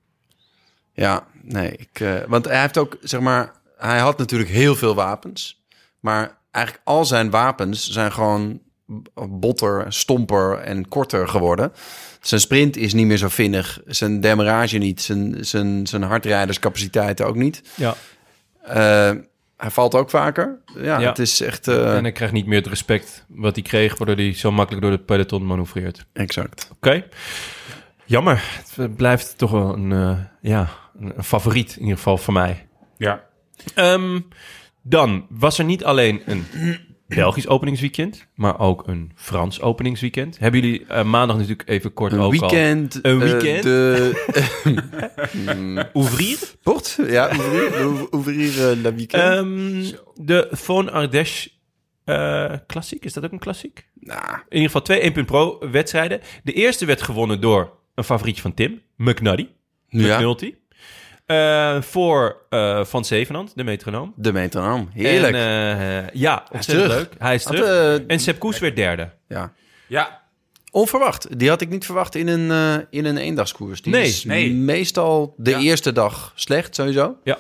ja nee. Ik, eh, want hij heeft ook, zeg maar... Hij had natuurlijk heel veel wapens. Maar eigenlijk al zijn wapens zijn gewoon b- botter, stomper en korter geworden. Zijn sprint is niet meer zo vinnig. Zijn demarage niet. Zijn, zijn, zijn hardrijderscapaciteiten ook niet.
Ja.
Eh, hij valt ook vaker. Ja,
Ja.
het is echt... eh,
En hij krijgt niet meer het respect wat hij kreeg... waardoor hij zo makkelijk door het peloton manoeuvreert.
Exact.
Oké. Jammer. Het blijft toch wel een, eh, ja, een een favoriet in ieder geval voor mij.
ja.
Ehm, dan was er niet alleen een Belgisch openingsweekend, maar ook een Frans openingsweekend. Hebben jullie eh, maandag natuurlijk even kort
Een
ook
weekend.
Een
eh,
weekend?
de...
al. Ouvrir?
Port? Ja, ouvrir, ou- ouvrir eh, la weekend.
Ehm, de Von Ardèche eh klassiek, is dat ook een klassiek?
Nou,
In ieder geval twee 1 punt pro wedstrijden. De eerste werd gewonnen door een favorietje van Tim, McNuddy.
ja,
McNulty. Eh, voor eh, Van Zevenand, de metronoom.
de metronoom. Heerlijk.
En, eh, ja, ontzettend
terug.
leuk. Hij is
Had,
terug.
eh,
en Sepp Koes werd derde.
ja.
ja.
Onverwacht. Die had ik niet verwacht in een, eh, in een eendagskoers. Die
Nee,
is
nee.
meestal de
Ja.
eerste dag slecht, sowieso.
Ja,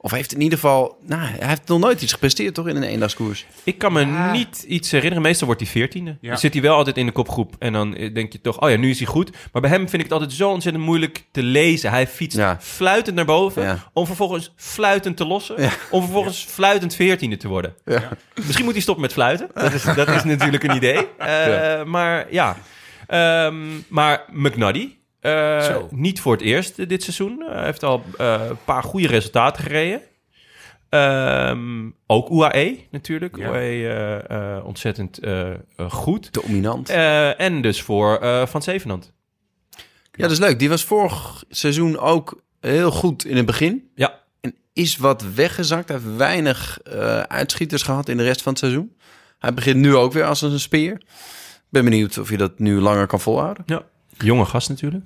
Of heeft in ieder geval... Nou, hij heeft nog nooit iets gepresteerd, toch, in een eendagskoers?
Ik kan me niet iets herinneren. Meestal wordt hij veertiende.
Ja.
Dan zit hij wel altijd in de kopgroep. En dan eh, denk je toch, oh ja, nu is hij goed. Maar bij hem vind ik het altijd zo ontzettend moeilijk te lezen. Hij fietst
Ja.
fluitend naar boven.
Ja.
Om vervolgens fluitend te lossen.
Ja.
Om vervolgens fluitend veertiende te worden. Misschien moet hij stoppen met fluiten. Dat is, dat is natuurlijk een idee. Eh, Maar ja. Ehm, maar McNuddy. eh,
Zo.
niet voor het eerst eh, dit seizoen. Hij heeft al eh, een paar goede resultaten gereden. Ehm, ook UAE natuurlijk.
Ja.
UAE eh, eh, ontzettend eh, eh, goed.
Dominant.
Eh, en dus voor eh, Van Zevenand.
Ja, dat is leuk. Die was vorig seizoen ook heel goed in het begin.
Ja.
En is wat weggezakt. Hij heeft weinig eh, uitschieters gehad in de rest van het seizoen. Hij begint nu ook weer als een speer. Ik ben benieuwd of je dat nu langer kan volhouden.
Ja. Jonge gast natuurlijk.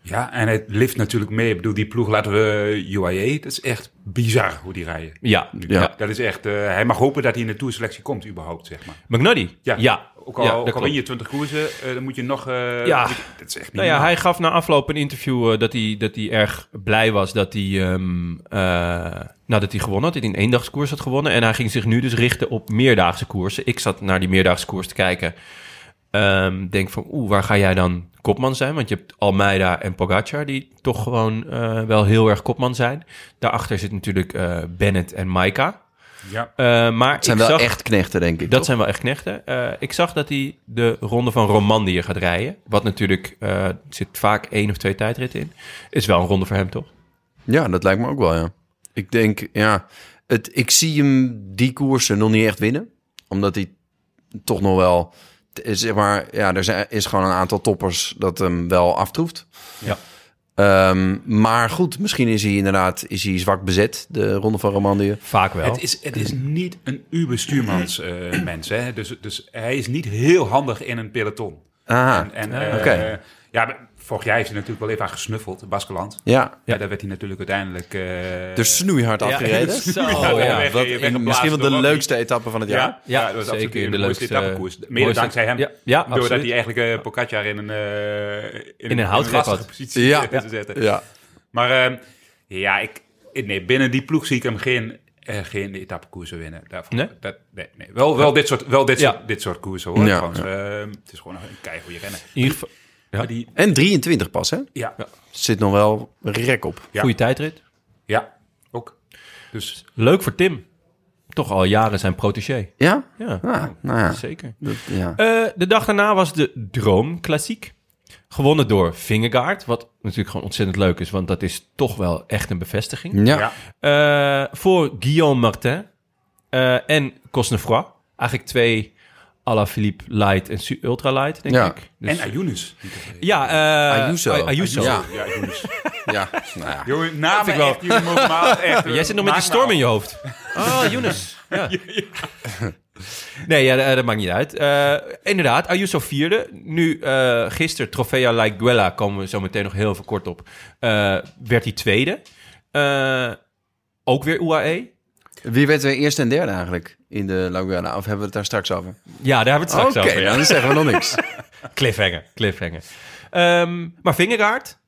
ja, en het lift natuurlijk mee. Ik bedoel, die ploeg laten we UAE. Dat is echt bizar hoe die rijden.
Ja.
Ja.
Dat is echt, eh, hij mag hopen dat hij in de toerselectie komt überhaupt, zeg maar.
McNuddy.
Ja.
ja.
Ook al,
Ja, dat
ook al
klopt.
win je 20 koersen, eh, dan moet je nog... eh,
Ja.
moet je- dat is echt niet
Nou ja,
normaal.
hij gaf na afloop een interview eh, dat, hij, dat hij erg blij was dat hij, ehm, eh, nou, dat hij gewonnen had. Dat hij een eendagskoers had gewonnen. En hij ging zich nu dus richten op meerdaagse koersen. Ik zat naar die meerdaagse koers te kijken. Ehm, denk van, oeh, waar ga jij dan kopman zijn? Want je hebt Almeida en Pogacar die toch gewoon eh, wel heel erg kopman zijn. Daarachter zit natuurlijk eh, Bennett en Maika.
Ja.
Eh, maar
Het zijn
ik
wel
zag,
echt knechten, denk ik.
dat
toch?
zijn wel echt knechten. Eh, ik zag dat hij de ronde van Romandie gaat rijden. Wat natuurlijk, eh zit vaak één of twee tijdritten in. Is wel een ronde voor hem, toch?
Ja, dat lijkt me ook wel, ja. Ik denk, ja... Het, ik zie hem die koersen nog niet echt winnen. Omdat hij toch nog wel... t- Zeg maar, ja, er zijn, is gewoon een aantal toppers dat hem wel aftroeft.
Ja.
Ehm, maar goed, misschien is hij inderdaad is hij zwak bezet, de Ronde van Romandie.
Vaak wel.
Het is, het is niet een uberstuurmans eh mens. Hè? Dus, dus hij is niet heel handig in een peloton.
Ah.
Aha,
En, eh,
Oké.
ja, maar vorig jaar heeft hij natuurlijk wel even aan gesnuffeld, Baskeland.
ja.
Ja. daar werd hij natuurlijk uiteindelijk... eh,
Dus snoeihard afgereden.
ja,
ja,
weg-
wat-
weggeblazen
misschien wel
door
de
Rocky.
leukste etappe van het jaar.
ja, ja, dat was absoluut
zeker
een
de
de mooiste
leukste,
etappekoers. Mede
mooiste-
dankzij hem.
Ja, ja,
doordat
absoluut.
hij eigenlijk eh Pogacar in een, eh in,
een houtgreep
lastige
had.
positie
Ja.
eh, te zetten.
Ja.
Maar eh, ja, ik, ik- nee, binnen die ploeg zie ik hem geen, eh geen etappekoersen winnen. Daarvoor,
Nee?
Dat, nee, nee. Wel, wel dit soort, wel dit
Ja.
soort, dit soort koersen hoor.
Ja,
Trouwens, eh, het is gewoon een keigoede rennen.
in ieder geval, ja, die
En 23 pas, hè?
Ja, ja.
Zit nog wel rek op.
Ja.
goede tijdrit.
ook. Dus
Leuk voor Tim. Toch al jaren zijn protégé.
Ja?
Ja,
Ah, nou ja.
zeker.
Dat, ja.
Eh, de dag daarna was de Droom Klassiek. Gewonnen door Vingegaard. Wat natuurlijk gewoon ontzettend leuk is. Want dat is toch wel echt een bevestiging.
Ja.
ja.
Eh, voor Guillaume Martin eh, en Cosnefroid. Eigenlijk twee à la Philippe Light en Su- Ultra Light, denk
Ja.
ik. Dus-
En Ayunus. Niet te vergeten.
ja, eh,
Ayuso.
Ay- Ayuso.
Ja.
Ja, Ayunus.
Ja. Nou ja.
Jongen, namen
wel.
echt, jullie mogen maar echt, eh,
Jij zit nog met die
maak
storm
nou. Ah,
in je hoofd. Oh, Younes. Ja. Nee, ja, dat, dat maakt niet uit. Eh, inderdaad, Ayuso vierde. Nu, eh gisteren, Trofea Laiguela, komen we zo meteen nog heel even kort op, eh, werd hij tweede. Eh, ook weer E. UAE.
Wie werd er eerst en derde eigenlijk in de Laguna? Of hebben we het daar straks over?
Ja, daar hebben we het straks
Oké,
over. ja.
dan zeggen we nog niks.
Cliffhanger, cliffhanger. Ehm, maar Vingegaard,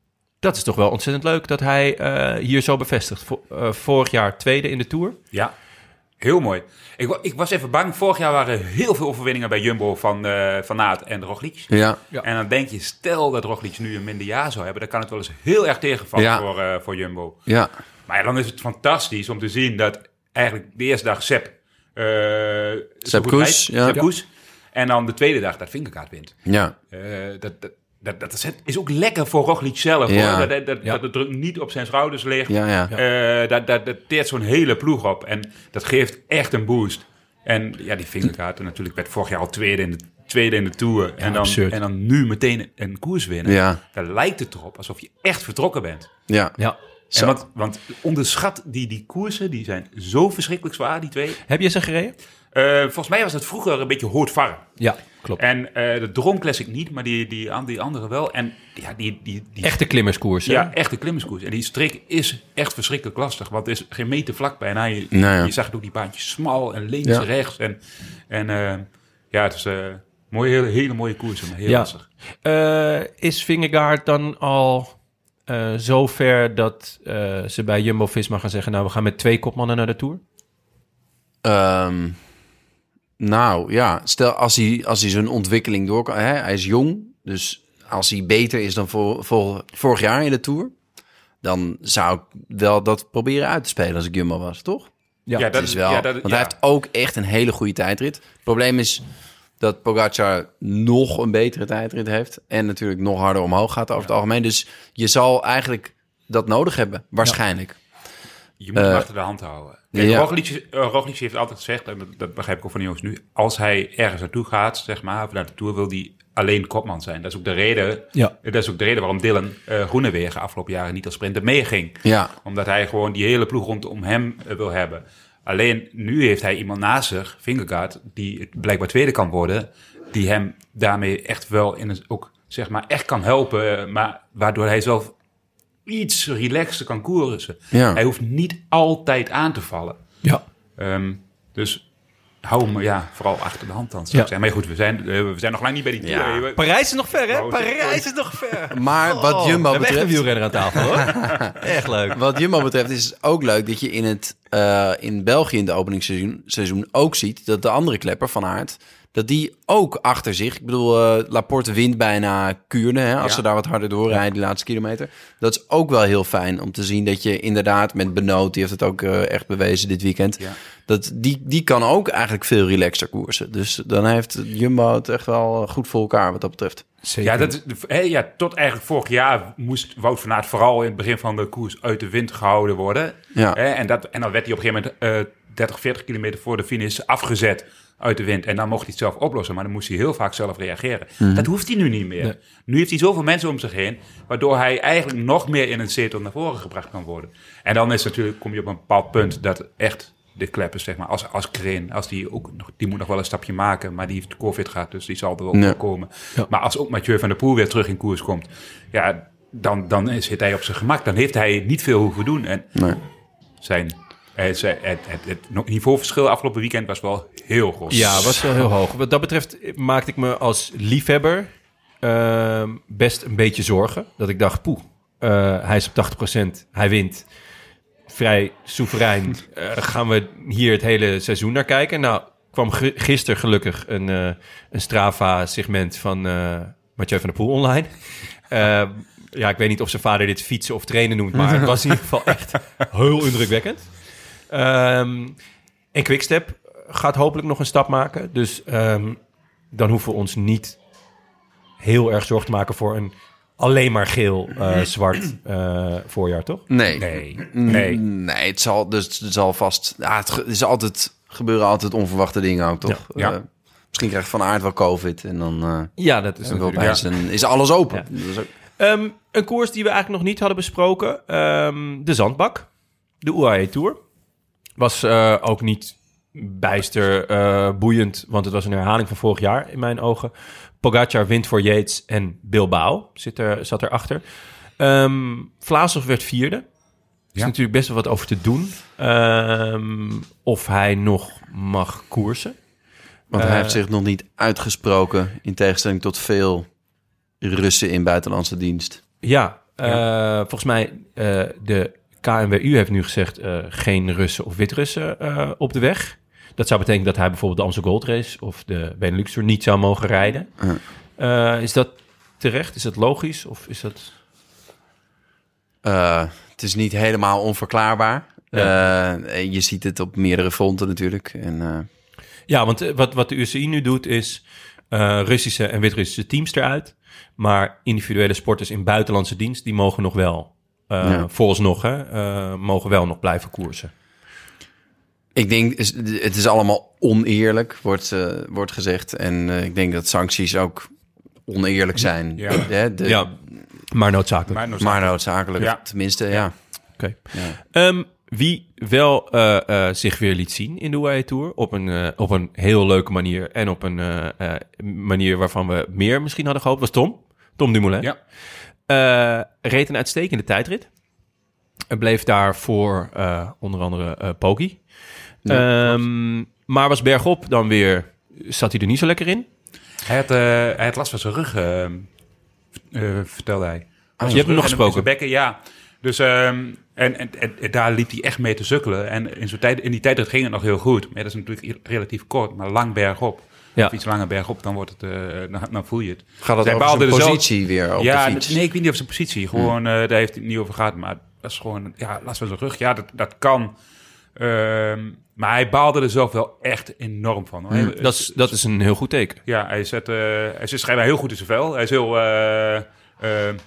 dat is toch wel ontzettend leuk dat hij eh, hier zo bevestigt. Vo- eh, vorig jaar tweede in de Tour.
Ja, heel mooi. Ik, wa- ik was even bang. Vorig jaar waren heel veel overwinningen bij Jumbo van, eh van Aert en Roglic.
Ja.
Ja.
En dan denk je, stel dat Roglic nu een minder jaar zou hebben, dan kan het wel eens heel erg tegenvallen
Ja.
voor, eh, voor Jumbo.
Ja.
Maar ja, dan is het fantastisch om te zien dat eigenlijk de eerste dag Sepp... eh, zo goed
Koes,
rijdt.
ja.
Sepp Koes. En dan de tweede dag dat Vinkerkaart wint.
Ja.
Eh, dat, dat, dat, dat is, het- is ook lekker voor Roglic zelf.
Ja.
Hoor. Dat, dat, dat,
Ja.
dat de druk niet op zijn schouders ligt.
Ja, ja.
Eh, dat, dat, dat teert zo'n hele ploeg op. En dat geeft echt een boost. En ja, die vingerkaarten natuurlijk werd vorig jaar al tweede in de, tweede in de Tour. en, dan,
absurd.
en dan nu meteen een koers winnen.
Ja.
Daar lijkt het erop alsof je echt vertrokken bent.
Ja.
Ja.
En want, want onderschat die, die koersen, die zijn zo verschrikkelijk zwaar, die twee.
Heb je ze gereden?
Eh, volgens mij was dat vroeger een beetje hoortvarren.
Ja, klopt.
En eh de Drom Classic niet, maar die, die, an- die andere wel. En ja, die, die, die
Echte klimmerskoers. hè?
ja, echte klimmerskoers. En die strik is echt verschrikkelijk lastig, want er is geen meter vlak bij. En hij,
Nou ja.
je zag het ook die baantjes smal en links
Ja.
rechts. En, en eh, ja, het is eh, Mooie, hele, hele mooie koers, maar heel
Ja.
lastig.
Eh, is Vingegaard dan al eh zover dat eh, ze bij Jumbo-Visma gaan zeggen... nou, we gaan met twee kopmannen naar de Tour?
Ehm, nou ja, stel als hij, als hij zijn ontwikkeling door kan. Hè, hij is jong, dus als hij beter is dan voor, voor, vorig jaar in de tour. Dan zou ik wel dat proberen uit te spelen als ik Jumbo was, toch?
Ja,
dat is wel.
ja, dat-
want
ja.
hij heeft ook echt een hele goede tijdrit. Het probleem is dat Pogacar nog een betere tijdrit heeft. En natuurlijk nog harder omhoog gaat over het algemeen. Dus je zal eigenlijk dat nodig hebben, waarschijnlijk.
Je moet hem
Eh,
achter de hand houden. Kijk,
ja.
Roglic, is- eh, Roglic heeft altijd gezegd, en dat- dat begrijp ik ook van de jongens nu, als hij ergens naartoe gaat, zeg maar, of naar de Tour, wil hij alleen kopman zijn. Dat is ook de reden,
Ja.
dat is ook de reden waarom Dylan eh Groenewegen afgelopen jaren niet als sprinter meeging.
Ja.
Omdat hij gewoon die hele ploeg rondom hem eh, wil hebben. Alleen nu heeft hij iemand naast zich, Vingegaard, die blijkbaar tweede kan worden, die hem daarmee echt wel in het, ook zeg maar echt kan helpen, eh, maar waardoor hij zelf iets relaxter kan koersen.
Ja.
Hij hoeft niet altijd aan te vallen.
Ja.
Ehm, dus hou hem ja, vooral achter de hand dan. zou ik
Ja.
zeggen. Maar goed, we zijn, eh, we zijn nog lang niet bij die
Ja.
tour. Ja.
Parijs is nog ver, hè?
Wou,
Parijs is nog ver.
Maar
Oh,
wat Jumbo
hebben echt een
betreft...
wielrenner aan tafel, hoor. Echt leuk.
Wat Jumbo betreft is het ook leuk dat je in, het, eh, in België in de openingsseizoen seizoen ook ziet dat de andere klepper van Aert, dat die ook achter zich, ik bedoel, eh, Laporte wint bijna Kuurne, hè, als
Ja.
ze daar wat harder doorrijden die laatste kilometer. Dat is ook wel heel fijn om te zien dat je inderdaad met Benoot, die heeft het ook eh, echt bewezen dit weekend,
Ja.
dat die, die kan ook eigenlijk veel relaxter koersen. Dus dan heeft Jumbo het echt wel eh, goed voor elkaar wat dat betreft.
Ja, dat, is- hè, ja, tot eigenlijk vorig jaar moest Wout van Aert vooral in het begin van de koers uit de wind gehouden worden.
Ja.
Hè, en, dat, en dan werd hij op een gegeven moment eh 30, 40 kilometer voor de finish afgezet uit de wind. En dan mocht hij het zelf oplossen, maar dan moest hij heel vaak zelf reageren.
Mhm.
Dat hoeft hij nu niet meer. Nu heeft hij zoveel mensen om zich heen, waardoor hij eigenlijk nog meer in een zetel naar voren gebracht kan worden. En dan is natuurlijk, kom je op een bepaald punt dat echt de kleppers, zeg maar, als, als Kreen, als die ook nog, die moet nog wel een stapje maken, maar die heeft COVID gehad, dus die zal er wel
Ja.
voor komen. Maar als ook Mathieu van der Poel weer terug in koers komt, ja, dan, dan zit hij op zijn gemak. Dan heeft hij niet veel hoeven doen. En
Nee.
zijn, eh, zijn- het, het, het niveauverschil afgelopen weekend was wel heel groot.
Ja, was wel heel hoog. Wat dat betreft maakte ik me als liefhebber ehm, best een beetje zorgen. Dat ik dacht, poeh, eh, hij is op 80%, hij wint. Vrij soeverein. Eh, gaan we hier het hele seizoen naar kijken? Nou, kwam gi- gisteren gelukkig een, eh, een Strava-segment van eh Mathieu van der Poel online. Eh, ja, ik weet niet of zijn vader dit fietsen of trainen noemt, maar het was in ieder geval echt heel indrukwekkend. Ehm en Quickstep gaat hopelijk nog een stap maken. Dus ehm, dan hoeven we ons niet heel erg zorg te maken voor een alleen maar geel-zwart eh, voorjaar, toch?
Nee,
Mm.
nee.
Nee, het zal, dus, het zal vast... Ja, het ge- is altijd, gebeuren altijd onverwachte dingen ook, toch?
Ja.
Eh, misschien krijgt Van Aert wel COVID en dan eh,
Ja, dat is
en
natuurlijk...
opeens een- is alles open.
Ja.
Dat is ook-
Ehm, een koers die we eigenlijk nog niet hadden besproken. ehm, de Zandbak, de UAE Tour. Was eh, ook niet bijster eh, boeiend, want het was een herhaling van vorig jaar in mijn ogen. Pogacar wint voor Yates en Bilbao zit er, zat erachter. Ehm Vlaasov werd vierde. Er is
Ja.
natuurlijk best wel wat over te doen. Ehm, of hij nog mag koersen.
want
Eh.
hij heeft zich nog niet uitgesproken... in tegenstelling tot veel Russen in buitenlandse dienst.
Ja, eh, volgens mij eh de KNWU heeft nu gezegd eh, geen Russen of Wit-Russen eh, op de weg. Dat zou betekenen dat hij bijvoorbeeld de Amstel Gold Race of de Benelux Tour niet zou mogen rijden. Eh, is dat terecht? Is dat logisch? Of is dat...
Eh, het is niet helemaal onverklaarbaar.
Ja.
Eh, je ziet het op meerdere fronten natuurlijk. En, eh,
Ja, want eh, wat, wat de UCI nu doet is eh, Russische en Wit-Russische teams eruit. Maar individuele sporters in buitenlandse dienst, die mogen nog wel, eh
Ja.
vooralsnog, hè, eh, mogen wel nog blijven koersen.
Ik denk, is- het is allemaal oneerlijk, wordt, eh, wordt gezegd. En eh, ik denk dat sancties ook oneerlijk zijn.
Ja.
Hè, de-
ja, maar noodzakelijk.
Maar, nog-
Maar noodzakelijk,
Ja.
tenminste, ja.
Oké.
Ja.
Ehm, wie wel eh, eh, zich weer liet zien in de UAE Tour op een, eh, op een heel leuke manier en op een eh, eh, manier waarvan we meer misschien hadden gehoopt, was Tom. Tom Dumoulin.
ja.
Eh, reed een uitstekende tijdrit. En bleef daar voor eh, onder andere eh Poggi. Ehm, maar was bergop dan weer, zat hij er niet zo lekker in.
Hij had, eh, hij had last van zijn rug, eh, eh, vertelde hij.
Ah, je hebt hem nog gesproken.
Bekken, ja. Dus ehm, en, en, en- en daar liep hij echt mee te sukkelen. En in, zo'n tijd, in die tijd dat ging het nog heel goed. Maar dat is natuurlijk relatief kort, maar lang bergop.
Ja.
Of iets langer bergop, dan, wordt het, eh, dan, dan voel je het.
Gaat dat
Zij dus baalden
over zijn
er zelf-
positie weer Oh, op
ja,
de fiets? Hmm.
nee, ik weet niet of zijn positie. Gewoon, eh, daar heeft hij het niet over gehad. Maar dat is gewoon, ja, last van zijn rug. Ja, dat, dat kan. Ehm, maar hij baalde er zelf wel echt enorm van.
Hmm.
hoor. Hij- eh,
Dat is, dat is een heel goed teken.
ja, hij, zet, eh, hij zit schijnbaar heel goed in zijn vel. Hij is heel eh, eh,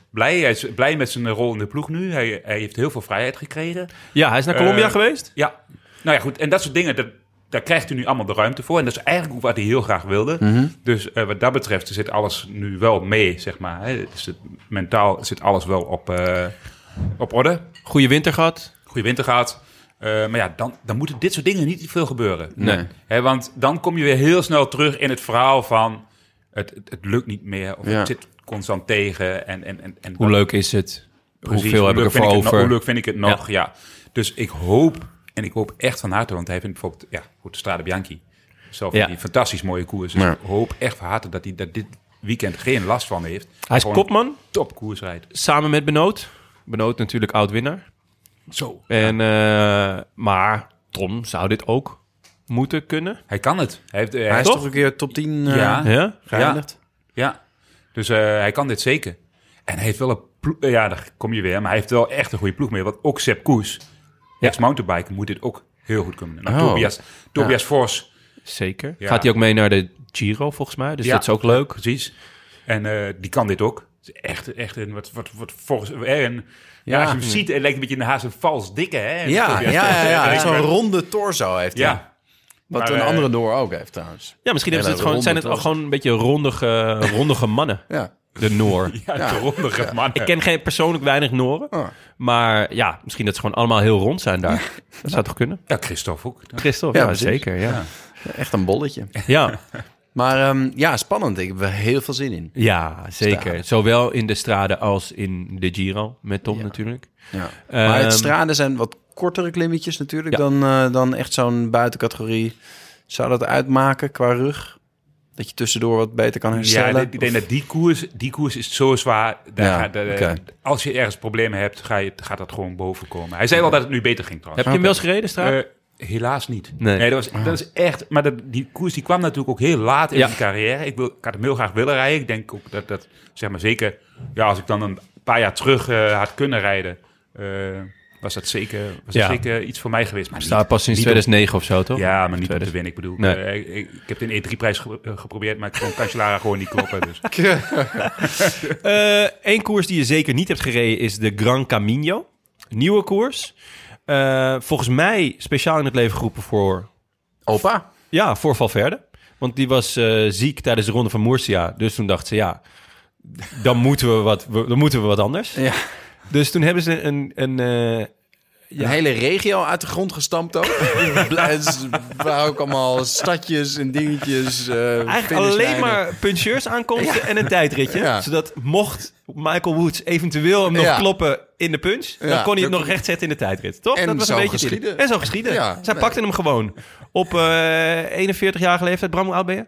blij. Hij is blij met zijn rol in de ploeg nu. Hij, hij heeft heel veel vrijheid gekregen.
Ja, hij is naar
Eh,
Colombia geweest.
Ja, nou ja, goed. En dat soort dingen, dat, daar krijgt u nu allemaal de ruimte voor. En dat is eigenlijk ook wat hij heel graag wilde.
Mhm.
Dus eh, wat dat betreft zit alles nu wel mee, zeg maar. Hè. Het is het- mentaal zit alles wel op, eh, op orde.
Goede winter gehad.
Goede winter gehad. Eh, maar ja, dan, dan moeten dit soort dingen niet veel gebeuren.
Nee.
Hè, want dan kom je weer heel snel terug in het verhaal van... het, het, het lukt niet meer, of
Ja.
het zit constant tegen. En, en, en, en
Hoe leuk is het?
Precies,
Hoeveel heb ik
hoe leuk
ervoor
vind het no-
over?
hoe leuk vind ik het nog, ja. Dus ik hoop, en ik hoop echt van harte, want hij vindt bijvoorbeeld, ja, goed, Strade Bianchi. Zo van
Ja.
die fantastisch mooie koers. Dus
Ja.
ik hoop echt van harte dat hij dat dit weekend geen last van heeft.
Hij is
Gewoon
kopman,
Top koers rijdt.
samen met Benoot. Benoot natuurlijk oud-winnaar.
Zo.
En, eh, maar Tom zou dit ook moeten kunnen.
Hij kan het. Hij, heeft, eh,
Hij is
toch?
toch een keer top 10 eh,
Ja.
Ja?
geëindigd?
Ja. Dus eh, hij kan dit zeker. En hij heeft wel een ploeg, eh, ja, daar kom je weer, maar hij heeft wel echt een goede ploeg mee. Want ook Sepp Koes, ex-mountainbiker, moet dit ook heel goed kunnen. Nou,
Oh.
Tobias, Tobias Fors,
Zeker.
Ja.
Gaat hij ook mee naar de Giro volgens mij? Dus
Ja.
dat is ook leuk.
Precies. En eh, die kan dit ook. Het is Echt, echt een wat, wat, wat volgens. eh, een- ja,
Ja.
als je hem ziet, het lijkt een beetje een haas een vals dikke, hè?
Ja, ja, ja, ja.
Ja.
Zo'n ronde torso heeft hij.
Ja.
Wat
Maar,
een
eh,
andere door ook heeft trouwens.
Ja, misschien
Ja,
hebben ze het
nou,
gewoon, zijn het
ronde
al gewoon een beetje rondige, rondige mannen,
Ja.
de Noor.
Ja, de rondige man.
Ik ken geen, persoonlijk weinig Nooren.
Ah.
Maar ja, misschien dat ze gewoon allemaal heel rond zijn daar. Dat zou toch kunnen?
Ja, Christophe ook.
Christophe, ja,
Ja, precies.
zeker. Ja.
Echt een bolletje.
Ja.
Maar ehm, ja, spannend. Ik heb er heel veel zin in.
ja, zeker. Zowel in de straden als in de Giro, met Tom natuurlijk.
Ja. maar
Ehm,
het straden zijn wat kortere klimmetjes natuurlijk
Ja.
dan, eh, dan echt zo'n buitencategorie. Zou dat uitmaken qua rug? Dat je tussendoor wat beter kan
Ja,
herstellen?
ik denk dat die koers, die koers is zo zwaar. Daar
Ja,
gaat, daar-
oké.
Als je ergens problemen hebt, ga je, gaat dat gewoon boven komen. Hij zei wel dat het nu beter ging
Heb
trouwens.
je hem wel eens gereden, straat?
Eh, helaas niet.
Nee.
Nee, dat, was, dat is echt. Maar dat, die koers die kwam natuurlijk ook heel laat in
Ja.
mijn carrière. Ik, wil, ik had hem heel graag willen rijden. Ik denk ook dat dat, zeg maar zeker, ja, als ik dan een paar jaar terug eh, had kunnen rijden, eh, was dat zeker, was
Ja.
dat zeker iets voor mij geweest. Maar
Staat
niet-
pas sinds
niet op-
2009 of zo, toch?
ja, maar niet om te
2000.
winnen. Ik bedoel,
Nee.
eh, ik, ik heb de E3-prijs ge- eh, geprobeerd, maar ik kon Cancellara gewoon niet kloppen. Dus.
Eén Eh, koers die je zeker niet hebt gereden is de Gran Camino. Nieuwe koers. Eh, volgens mij speciaal in het leven geroepen voor,
Opa?
ja, voor Valverde. Want die was eh, ziek tijdens de ronde van Murcia. Dus toen dacht ze, ja, dan moeten we wat, we- dan moeten we wat anders.
Ja.
Dus toen hebben ze een... een eh,
Een hele regio uit de grond gestampt ook. Het is- waren ook allemaal stadjes en dingetjes. eh,
Eigenlijk
finishlijnen.
alleen maar puncheurs aankomsten en een tijdritje.
Ja.
Zodat mocht Michael Woods eventueel hem nog
Ja.
kloppen in de punch... dan
Ja.
kon hij het nog rechtzetten in de tijdrit, toch?
En zo
het idee.
geschieden.
En zo geschieden.
Ja,
Zij
nee.
pakten hem gewoon op eh 41-jarige leeftijd. Bram, hoe oud ben je?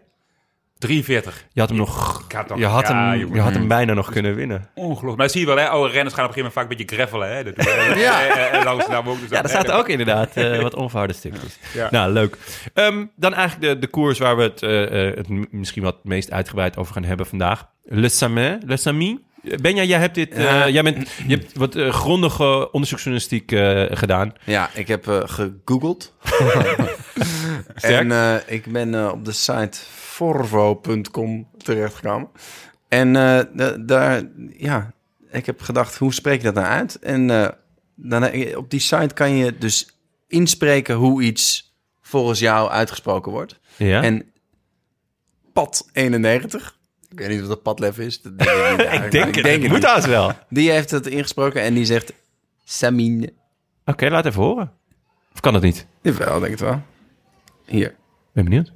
43.
Je had hem nog...
Ik had nog-
Je had,
ja,
hem,
jongen.
je had hem bijna nog kunnen winnen.
Ongelooflijk. Maar zie je wel, hè, oude renners gaan op een gegeven moment vaak een beetje gravelen. Hè? Dat, eh,
Ja.
ja. En, en Amsterdam ook. Dus
Ja, daar zaten
hè,
ook inderdaad eh, wat onverharde stukjes.
Ja.
Nou, leuk. Ehm, dan eigenlijk de, de koers waar we het, eh, eh, het m- misschien wat meest uitgebreid over gaan hebben vandaag. Le Samin. Le Samin. Benja, jij hebt dit. eh, jij bent, je hebt wat eh, grondige onderzoeksjournalistiek eh, gedaan.
Ja, ik heb eh, gegoogeld. en eh, ik ben eh, op de site forvo.com terechtgekomen. En eh, da- daar, ja, ik heb gedacht, hoe spreek ik dat nou uit? En eh, dan, eh, op die site kan je dus inspreken hoe iets volgens jou uitgesproken wordt.
Ja.
En pad 91. Ik weet niet of dat padlef is. Dat denk ik, niet eigenlijk, maar ik denk het
Moet
niet.
dat wel. Oké,
Die heeft het ingesproken en die zegt Samin.
laat even horen. Of kan dat niet? Ik
Jawel, denk het wel. Hier.
ben benieuwd.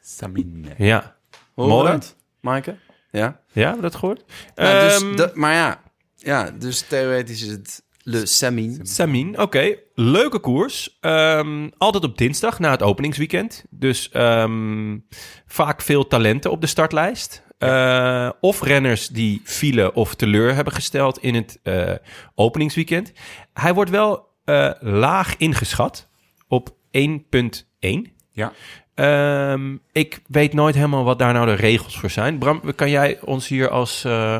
Samine.
Ja.
Hoor
Mooi.
dat, Maaike? Ja.
Ja, hebben we dat gehoord?
Nou,
Ehm,
dus, dat- maar ja. ja, dus theoretisch is het
Le Samin.
Samin, oké. Leuke koers. Ehm, altijd op dinsdag na het openingsweekend. Dus ehm, vaak veel talenten op de startlijst. Eh, of renners die vielen of teleur hebben gesteld in het eh, openingsweekend. Hij wordt wel eh, laag ingeschat op 1.1.
Ja.
Ehm, ik weet nooit helemaal wat daar nou de regels voor zijn. Bram, kan jij ons hier als, eh,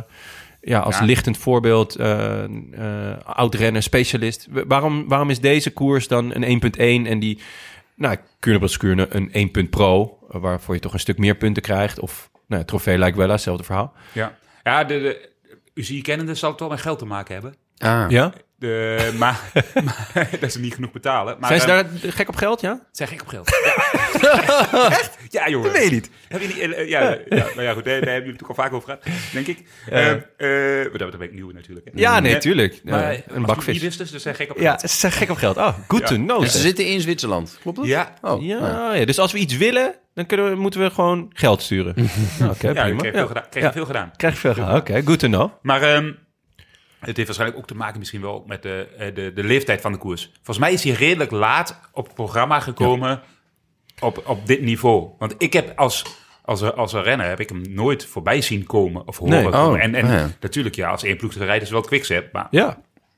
ja, als
Ja.
lichtend voorbeeld, eh eh, oud-renner, specialist... wa- Waarom, waarom is deze koers dan een 1.1 en die... Nou, Kuurne een 1 punt pro, eh, waarvoor je toch een stuk meer punten krijgt. Of nou, ja, trofee lijkt wel, hetzelfde verhaal.
Ja, ja de, de, u zie je kennende zal het wel met geld te maken hebben.
Ah.
Ja?
De, maar, maar dat ze niet genoeg betalen. Maar,
Zijn ze
ehm,
daar gek op geld, ja?
zijn gek op geld. Ja. Echt? Ja, jongen.
weet niet.
Heb je niet, eh, ja, ja, nou ja, goed, daar, daar hebben jullie het ook al vaak over gehad, denk ik. Eh eh, maar dat ben ik nieuw natuurlijk. hè.
Ja, nee,
Eh,
tuurlijk.
Maar,
Eh,
als
een
u
bakvis.
niet wist dus, dus zijn gek op
Ja,
geld.
ze zijn gek op geld. Oh, good to know.
Ze
zeg.
zitten in Zwitserland, klopt dat?
Ja.
Oh, nou.
Ja, ja, dus als we iets willen, dan kunnen we, moeten we gewoon geld sturen. Nou, Oké,
Ja, ik
prima. Ja.
kreeg, veel, gedaan, kreeg
Ja.
veel gedaan.
Krijg je veel geld. Oké, good to know.
Maar ehm, het heeft waarschijnlijk ook te maken misschien wel met de, eh, de, de leeftijd van de koers. Volgens mij is hij redelijk laat op het programma gekomen op, op dit niveau. Want ik heb als, als, een- als een renner heb ik hem nooit voorbij zien komen of horen
Nee, oh,
komen. En, en
ah ja.
natuurlijk, ja, als één ploeg te rijden is wel het quickstep. Maar
Ja. Mhm.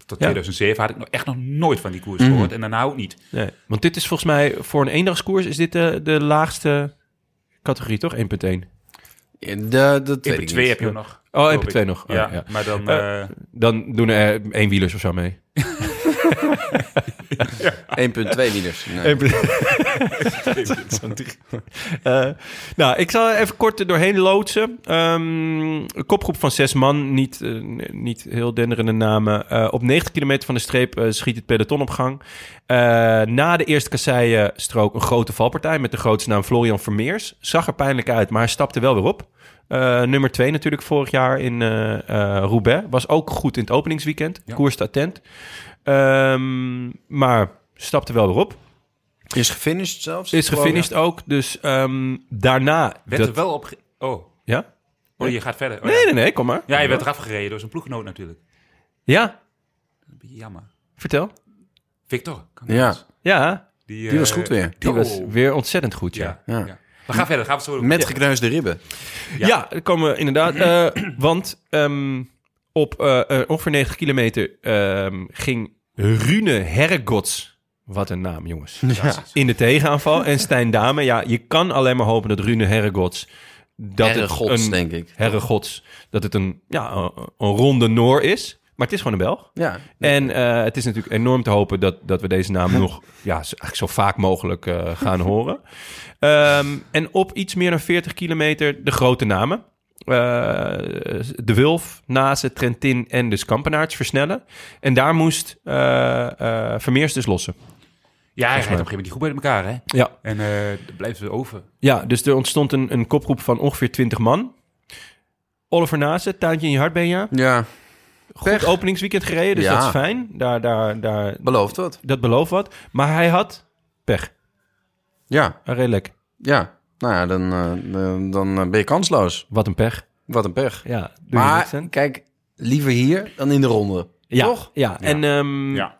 tot 2007 had ik nog echt nog nooit van die koers gehoord. En daarna ook niet.
Nee, want dit is volgens mij voor een eendagskoers is dit de, de laagste categorie, toch? 1.1.
De, dat weet
In
ik
twee
niet.
heb je hem nog.
Oh,
geloof
1.2
ik.
nog. Oh,
Ja,
ja.
maar dan...
Eh,
eh,
Dan doen er eenwielers of zo mee.
1.2 liters. Nee.
Eh, nou, ik zal even kort er doorheen loodsen. Ehm, een kopgroep van zes man, niet, eh, n- niet heel denderende namen. Eh, op 90 kilometer van de streep eh, schiet het peloton op gang. Eh, na de eerste kasseienstrook een grote valpartij met de grootste naam Florian Vermeers. Zag er pijnlijk uit, maar hij stapte wel weer op. Eh, nummer 2 natuurlijk vorig jaar in eh, eh, Roubaix. Was ook goed in het openingsweekend.
Ja.
Koers attent. Ehm, maar stapte wel weer op.
Is gefinished zelfs?
Is gefinished ook. Dus ehm, daarna...
werd er wel op... ge- Oh,
Ja?
oh, je gaat verder. Oh,
Nee,
ja.
nee, nee, kom maar.
ja, je werd eraf gereden door zijn ploeggenoot natuurlijk.
Ja,
Een beetje jammer.
vertel.
Victor.
Ja.
Ja,
Die,
Die was
eh,
goed weer.
die
oh.
was weer ontzettend goed, ja.
Ja.
Ja.
ja. We gaan verder. Gaan we het zo doen.
Met
Ja.
gekneusde ribben.
Ja, daar komen we inderdaad. eh, want ehm, op eh, eh, ongeveer 90 kilometer ehm, ging Rune Hergots... Wat een naam, jongens. In de tegenaanval. En Stijn Dame. Ja, je kan alleen maar hopen dat Rune Hergots... Dat het
Herregods,
een-
denk ik.
Herregods. Dat het een, ja, een, een ronde Noor is. Maar het is gewoon een Belg.
Ja.
En eh, het is natuurlijk enorm te hopen dat, dat we deze naam nog ja, zo- eigenlijk zo vaak mogelijk eh, gaan horen. Ehm, en op iets meer dan 40 kilometer de grote namen. Eh, de Wulf, Nase, Trentin en de Skampenaarts versnellen. En daar moest eh, eh, Vermeers dus lossen.
Ja, hij rijdt op een gegeven moment die goed bij elkaar, hè?
Ja,
En eh dan blijven ze over.
ja dus er ontstond een, een kopgroep van ongeveer 20 man. Oliver Nase, tuintje in je hart, Benja.
Ja,
Goed openingsweekend gereden, dus
Ja.
dat is fijn. Daar, daar, daar,
belooft wat.
dat belooft wat. Maar hij had pech.
Ja,
Redelijk.
ja. Nou ja, dan, eh, dan, dan eh, ben je kansloos.
Wat een pech.
Wat een pech.
Ja, doe je niks
Maar
aan.
kijk, liever hier dan in de ronde.
ja,
Toch?
Ja, En, ehm,
Ja.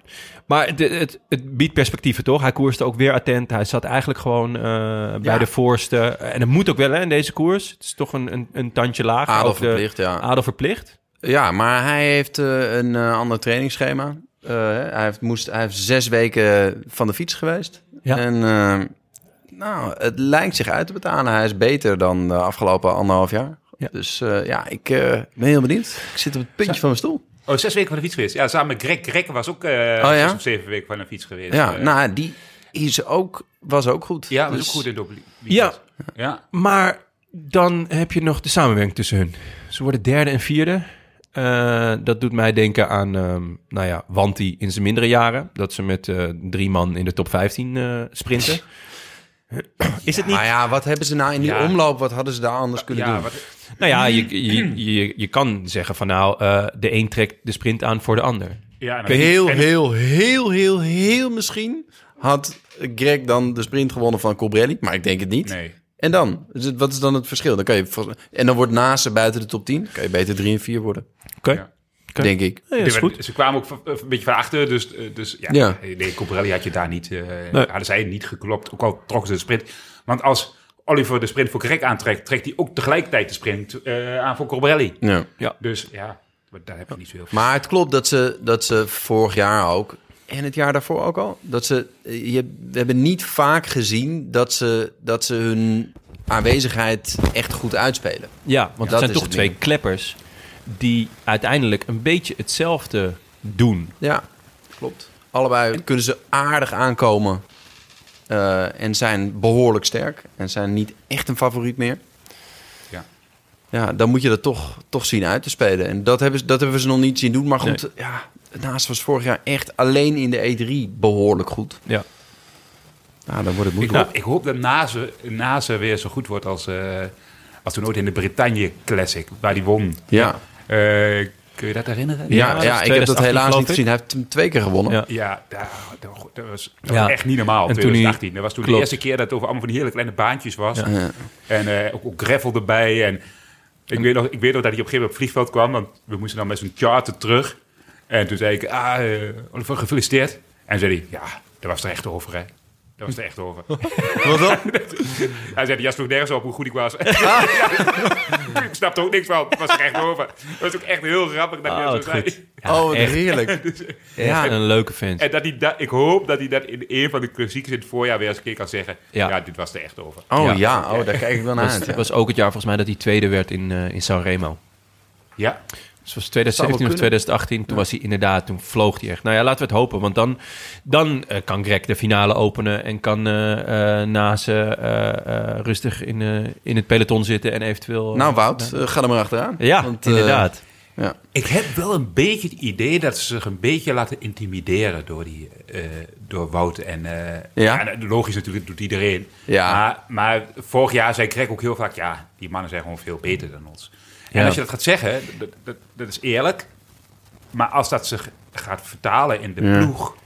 maar het, het, het biedt perspectieven, toch? Hij koerste ook weer attent. Hij zat eigenlijk gewoon eh, bij
Ja.
de voorste. En het moet ook wel, hè, in deze koers. Het is toch een, een, een tandje lager.
Adel
Ook de-
verplicht, ja.
Adel verplicht.
Ja, maar hij heeft eh, een eh, ander trainingsschema. Eh, hij, heeft, moest, hij heeft zes weken van de fiets geweest.
Ja.
En eh, nou, het lijkt zich uit te betalen. Hij is beter dan de afgelopen anderhalf jaar.
Ja.
Dus eh, ja, ik eh, ben heel benieuwd. Ik zit op het puntje van mijn stoel.
Oh, zes weken van de fiets geweest. Ja, samen met Greg. Greg was ook eh
Oh, ja?
zes of zeven weken van de fiets geweest.
Ja,
Eh,
nou, die is ook, was ook goed.
Ja, was
Dus-
ook goed in doppel.
Ja.
Ja.
Maar dan heb je nog de samenwerking tussen hun. Ze worden derde en vierde. Eh, dat doet mij denken aan, ehm, nou ja, Wanti in zijn mindere jaren. Dat ze met eh, drie man in de top 15 eh, sprinten. Is het niet
Maar ja, wat hebben ze nou in die
Ja.
omloop? Wat hadden ze daar anders kunnen
Ja,
doen?
wat,
Nou ja, je, je, je, je kan zeggen van nou, eh, de een trekt de sprint aan voor de ander.
ja en dan-
Heel,
en-
heel, heel, heel, heel misschien had Greg dan de sprint gewonnen van Colbrelli. Maar ik denk het niet.
Nee.
En dan? Dus het- Wat is dan het verschil? Dan kan je, vol- en dan wordt naast ze buiten de top 10. kan je beter 3 en 4 worden.
Oké.
Ja.
Oké.
denk ik.
Ja, is goed.
Ze kwamen ook van- eh, een beetje van achter, dus, eh, dus ja,
Ja.
nee, Coprelli had je daar niet, eh hadden zij niet geklopt, ook al trokken ze de sprint. Want als Oliver de sprint voor Krek aantrekt, trekt hij ook tegelijkertijd de sprint eh, aan voor Coprelli.
Ja.
Dus ja, maar daar heb je niet zo heel veel.
Maar het klopt dat ze, dat ze vorig jaar ook en het jaar daarvoor ook al, dat ze, eh, je, we hebben niet vaak gezien dat ze, dat ze hun aanwezigheid echt goed uitspelen.
Ja,
dat
want het zijn
is
toch
het
twee
ding.
kleppers die uiteindelijk een beetje hetzelfde doen.
Ja, klopt. Allebei kunnen ze aardig aankomen eh, en zijn behoorlijk sterk en zijn niet echt een favoriet meer.
Ja.
Ja, dan moet je dat toch, toch zien uit te spelen. En dat hebben, ze- dat hebben ze nog niet zien doen. Maar goed, ja, naast was vorig jaar echt alleen in de E3 behoorlijk goed.
Ja.
Nou, dan wordt het
Ik
moeilijk.
hoop, ik hoop dat Nase, Nase weer zo goed wordt als, eh, als toen ooit in de Bretagne Classic, waar hij won.
Ja.
Eh, kun je dat herinneren?
Ja, ja,
dat is
ik heb dat
2018
helaas
geloof
niet
ik.
gezien. Hij heeft hem twee keer gewonnen.
Ja.
Ja, daar- daar- dat, was, dat
Ja.
was echt niet
En
normaal,
toen hij-
2018. dat was toen
Klopt.
de eerste keer dat het over allemaal van die hele kleine baantjes was. En eh, ook, ook gravel erbij. En ik, weet nog, ik weet nog dat hij op een gegeven moment op het vliegveld kwam. Want we moesten dan met zo'n charter terug. En toen zei ik, ah, eh, Oliver, gefeliciteerd. En zei hij, ja, dat was er echt over, hè. Dat was er echt over.
Wat dan? Ah.
Hij zei, jas sloeg nergens op hoe goed ik was. ik snapte ook niks van. Het was er echt over. Dat was ook echt heel grappig dat hij
Ah, wat
dat zo zei.
goed.
oh, wat
echt.
heerlijk.
Ja,
Ja.
een leuke vent.
En dat hij dat, ik hoop dat hij dat in een van de klassiekers in het voorjaar weer eens een keer kan zeggen.
Ja.
Ja, dit was er echt over.
Oh
Ja.
ja, Oh, daar kijk ik wel naar
Dat
uit.
was,
ja.
was ook het jaar volgens mij dat hij tweede werd in, eh, in Sanremo.
Ja,
Dus het was 2017 of 2018. Toen was hij inderdaad, toen vloog hij echt. Nou ja, laten we het hopen. Want dan, dan eh, kan Greg de finale openen. En kan eh eh Nase eh, eh, rustig in, eh, in het peloton zitten. En eventueel... eh,
Nou, Wout, eh, ga er maar achteraan.
Ja,
Want, eh,
inderdaad.
ik heb wel een beetje het idee dat ze zich een beetje laten intimideren door, die, eh, door Wout. En, eh,
Ja.
en logisch natuurlijk, doet iedereen.
Ja.
Maar, maar vorig jaar zei Krek ook heel vaak, ja, die mannen zijn gewoon veel beter dan ons.
Ja.
En als je dat gaat zeggen, dat, dat, dat is eerlijk. Maar als dat zich gaat vertalen in de ploeg,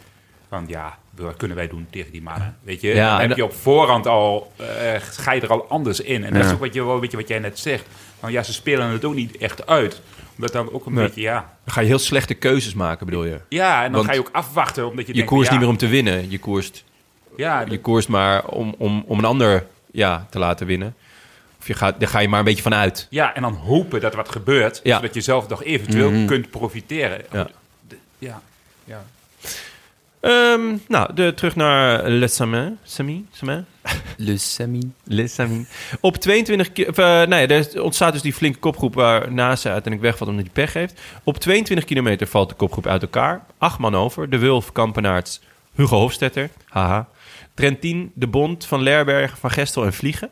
van ja, wat kunnen wij doen tegen die mannen? Weet je,
Ja, en
dan heb
dat-
je op voorhand al, eh, ga je er al anders in. En dat is ook wat je, wel een beetje wat jij net zegt. Van ja, ze spelen het ook niet echt uit. Omdat dan ook een
Nee.
beetje, ja.
Dan ga je heel slechte keuzes maken, bedoel je.
Ja, en dan
Want
ga je ook afwachten, omdat je,
Je
denkt,
koerst
ja,
niet meer om te winnen. Je koerst,
Ja,
je koerst maar om, om, om een ander ja, te laten winnen. Of je gaat, daar ga je maar een beetje van uit.
ja, en dan hopen dat er wat gebeurt,
Ja. Mhm.
zodat je zelf nog eventueel kunt profiteren.
Ja.
De- ja. ja.
Ehm, nou, de, terug naar Le Samin. Samin? Samin?
Le Semi.
Le Samin. Op 22... ki- Of, eh, nee, er ontstaat dus die flinke kopgroep waar NASA uiteindelijk wegvalt omdat hij pech heeft. Op 22 kilometer valt de kopgroep uit elkaar. Acht man over. De Wulf, Kampenaerts, Hugo Hofstetter. Haha. Trentin, De Bond, Van Lerberg, Van Gestel en Vliegen.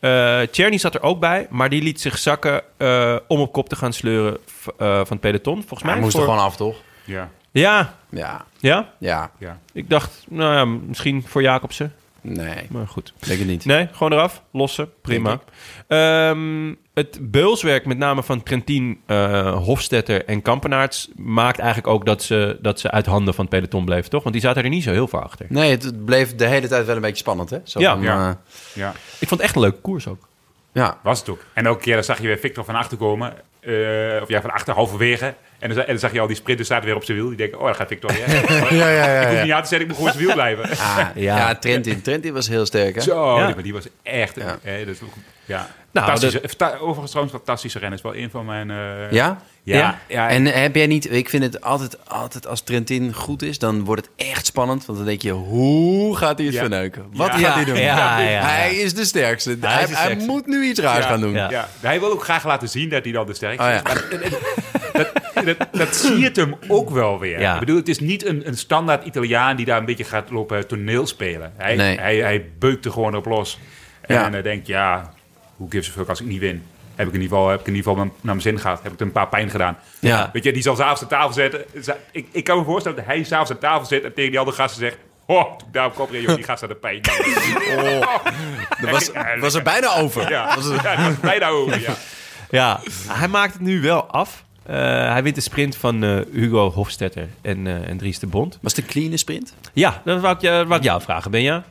Eh Tjerny zat er ook bij, maar die liet zich zakken eh, om op kop te gaan sleuren v- eh, van het peloton. Volgens mij
Hij moest er
voor-
gewoon af, toch?
ja.
Ja,
Ja,
ja.
ja.
Ik dacht, nou ja, misschien voor Jacobsen.
Nee,
Maar goed.
denk het niet.
Nee, gewoon eraf. Lossen. Prima.
Denk
Ehm, het beulswerk, met name van Trentin, eh, Hofstetter en Kampenaerts... maakt eigenlijk ook dat ze, dat ze uit handen van het peloton bleven, toch? Want die zaten er niet zo heel veel achter.
Nee, het, het bleef de hele tijd wel een beetje spannend, hè? Zo
Ja.
van,
Ja.
eh,
ja.
Ik vond het echt een leuke koers ook.
ja.
Was het ook. En elke keer dan zag je weer Victor van achter komen. eh, of ja, van achter halverwege. En dan, za- en dan zag je al die sprinters zaten weer op zijn wiel. Die denken, oh, daar gaat Victor weer.
Ja, ja, ja. Ah,
Ik hoef niet aan te zetten, ik moet gewoon op zijn wiel blijven.
Ja, ja, Trentin. Trentin was heel sterk, hè?
Zo,
Ja.
nee, maar die was echt...
Ja.
eh, dat is ook, ja.
Nou,
Fantastische- fanta- overigens trouwens, fantastische renners. Wel een van mijn... eh,
Ja?
Ja.
Ja.
ja.
En heb jij niet... Ik vind het altijd, altijd als Trentin goed is, dan wordt het echt spannend. Want dan denk je, hoe gaat hij het
Ja.
verneuken? Wat
Ja.
gaat hij doen?
Ja, ja, ja.
Hij is de sterkste. Hij,
is de
hij
sterkste.
moet nu iets raars
Ja.
gaan doen.
Ja.
Ja, hij wil ook graag laten zien dat hij dan de sterkste
Oh, ja.
is. Maar dat- dat, dat, dat zie het hem ook wel weer.
Ja.
Ik bedoel, het is niet een, een standaard Italiaan die daar een beetje gaat lopen toneelspelen. Hij,
Nee.
hij, hij beukt er gewoon op los. En
Ja.
dan eh, denkt, ja, hoe gives a fuck als ik niet win? Heb ik in ieder geval, heb ik in ieder geval mijn- naar mijn zin gehad. Heb ik er een paar pijn gedaan.
Ja.
Weet je, die zal s'avonds aan tafel zetten. Za- Ik, ik kan me voorstellen dat hij s'avonds aan tafel zit en tegen die andere gasten zegt... Oh, toen ik daar op kop reed, joh, die gast had de pijn.
Dat was, was Oh. er bijna over.
Ja,
Was
ja,
er-
dat was bijna over, ja.
Ja, hij maakt het nu wel af. Eh, hij wint de sprint van eh, Hugo Hofstetter en, eh en Dries de Bond.
was het een clean sprint?
Ja, dat wou ik, je- wou ik jou vragen, Benja.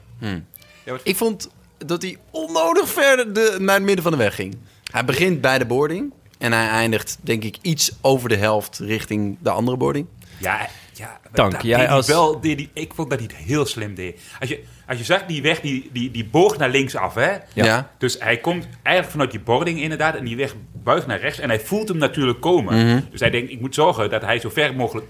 Ik vond dat hij onnodig ver de, naar het midden van de weg ging. Hij begint bij de boarding. En hij eindigt, denk ik, iets over de helft richting de andere boarding.
Ja, ja
Dank,
dat
jij
deed hij
als-
wel, deed hij- ik vond dat hij het heel slim deed. Als je, als je zag, die weg die, die, die boog naar links af. Hè?
Ja.
Dus hij komt eigenlijk vanuit die boarding inderdaad. En die weg buigt naar rechts. En hij voelt hem natuurlijk komen.
Mhm.
Dus hij denkt, ik moet zorgen dat hij zo ver mogelijk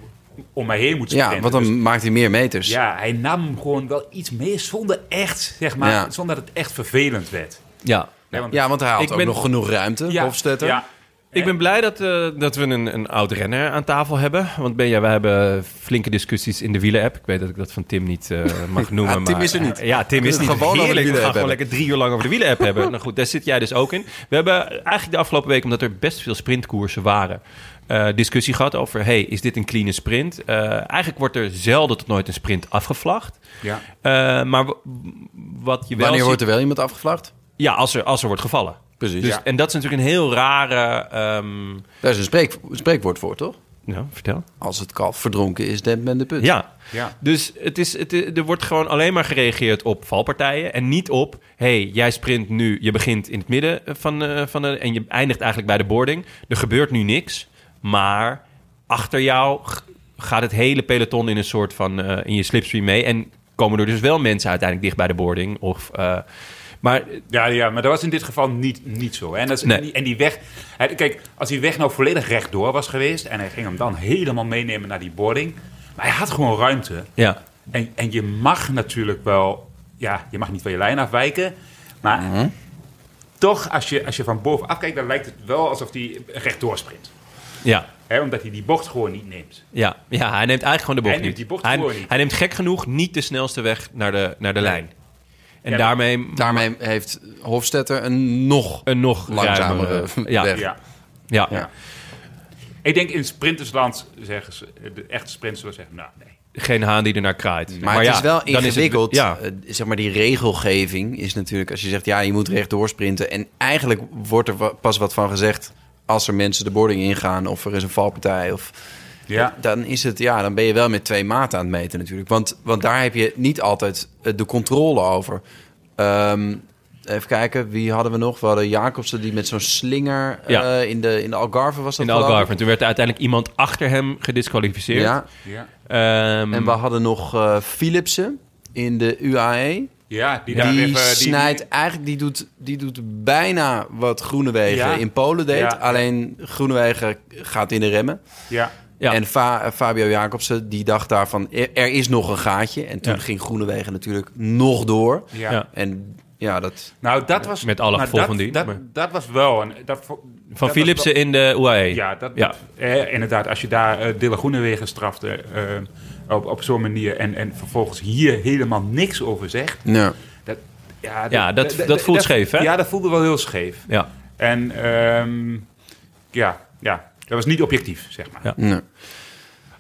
om mij heen moet
Ja,
sprinten.
want dan
Dus
maakt hij meer meters.
ja, hij nam hem gewoon wel iets mee zonder echt, zeg maar,
Ja.
zonder dat het echt vervelend werd.
Ja.
Ja, want-
Ja, want hij had
Ik
ook
ben-
nog genoeg ruimte,
ja,
Hofstetter.
ja.
Ik ben blij dat, eh, dat we een, een oud renner aan tafel hebben. Want Benja, wij hebben flinke discussies in de wielen-app. Ik weet dat ik dat van Tim niet eh, mag noemen.
Tim
maar,
is er niet.
Eh, ja, Tim
We
is
kunnen
niet.
het gewoon over de
Heerlijk, we gaan
wielen-app
gewoon
hebben.
lekker drie uur lang over de wielen-app hebben. Nou goed, daar zit jij dus ook in. We hebben eigenlijk de afgelopen week, omdat er best veel sprintkoersen waren... eh, discussie gehad over, hey, is dit een clean sprint? Eh, eigenlijk wordt er zelden tot nooit een sprint afgevlacht.
Ja.
Eh, maar w- wat je wel
Wanneer
ziet-
wordt er wel iemand afgevlacht?
Ja, als er, als er wordt gevallen.
Precies.
Dus,
Ja.
En dat is natuurlijk een heel rare... ehm,
Daar is een spreek- spreekwoord voor, toch?
nou, vertel.
Als het kalf verdronken is, dempt men de put.
Ja.
Ja.
Dus het is, het, er wordt gewoon alleen maar gereageerd op valpartijen. En niet op, hey, jij sprint nu, je begint in het midden van, eh, van de, en je eindigt eigenlijk bij de boarding. Er gebeurt nu niks, maar achter jou g- gaat het hele peloton in een soort van, eh, in je slipstream mee. En komen er dus wel mensen uiteindelijk dicht bij de boarding. Of, eh, maar
Ja, ja, maar dat was in dit geval niet, niet zo. Hè? En, dat is,
Nee.
en, die, en die weg... hè, Kijk, als die weg nou volledig rechtdoor was geweest... en hij ging hem dan helemaal meenemen naar die boarding... maar hij had gewoon ruimte.
ja,
En, en je mag natuurlijk wel... Ja, je mag niet van je lijn afwijken. Maar toch, als je, als je van bovenaf kijkt... dan lijkt het wel alsof hij rechtdoor sprint.
ja.
Hè? Omdat hij die bocht gewoon niet neemt.
Ja, ja, hij neemt eigenlijk gewoon de bocht
Hij neemt
niet.
die bocht
hij,
gewoon niet.
hij neemt gek genoeg niet de snelste weg naar de, naar de lijn. En
Ja,
daarmee
Daarmee heeft Hofstetter een nog...
een nog
Langzamere
ruimere- ja,
weg.
Ja.
Ja.
Ja. Ik denk in sprintersland zeggen ze... de echte sprinters zullen zeggen... nou, nee.
Geen haan die ernaar kraait.
Maar, het
ja,
is wel
dan het-
ingewikkeld.
ja,
Eh, zeg maar, die regelgeving is natuurlijk... Als je zegt, ja, je moet rechtdoor sprinten. En eigenlijk wordt er wa- pas wat van gezegd... als er mensen de boarding ingaan of er is een valpartij of... Eh,
Ja.
Dan is het, ja, dan ben je wel met twee maten aan het meten natuurlijk. Want, want daar heb je niet altijd eh, de controle over. Ehm, even kijken, wie hadden we nog? We hadden Jacobsen die met zo'n slinger eh,
Ja.
in, de, in de Algarve was dat
in de
geloof ik?
Algarve. En Toen werd er uiteindelijk iemand achter hem gedisqualificeerd.
Ja,
Ja.
Ehm,
en we hadden nog eh, Philipsen in de E. UAE.
Ja, die, daar
Die
even-
snijdt eigenlijk, die doet, die doet bijna wat Groenewegen
Ja.
in Polen deed.
Ja.
Alleen Groenewegen gaat in de remmen.
Ja.
ja.
En Fa- eh, Fabio Jacobsen, die dacht daarvan, er, er is nog een gaatje. En toen
Ja.
ging Groenewegen natuurlijk nog door.
Ja.
Ja.
En ja, dat...
Nou, dat was...
Met alle
maar
gevolgen
dat,
die-
Dat,
maar-
dat was wel... Een, dat, vo- dat
van
was
Philipsen
wel-
in de E. UAE.
ja, dat,
Ja.
dat- eh, inderdaad. Als je daar eh Dille Groenewegen strafte eh, op, op zo'n manier... En, en vervolgens hier helemaal niks over zegt...
Nou,
Dat, ja,
Ja, dat- dat voelt scheef, hè?
Ja, dat voelde wel heel scheef.
Ja.
En ehm, ja, ja, dat was niet objectief, zeg maar.
Ja.
Ja,
nou.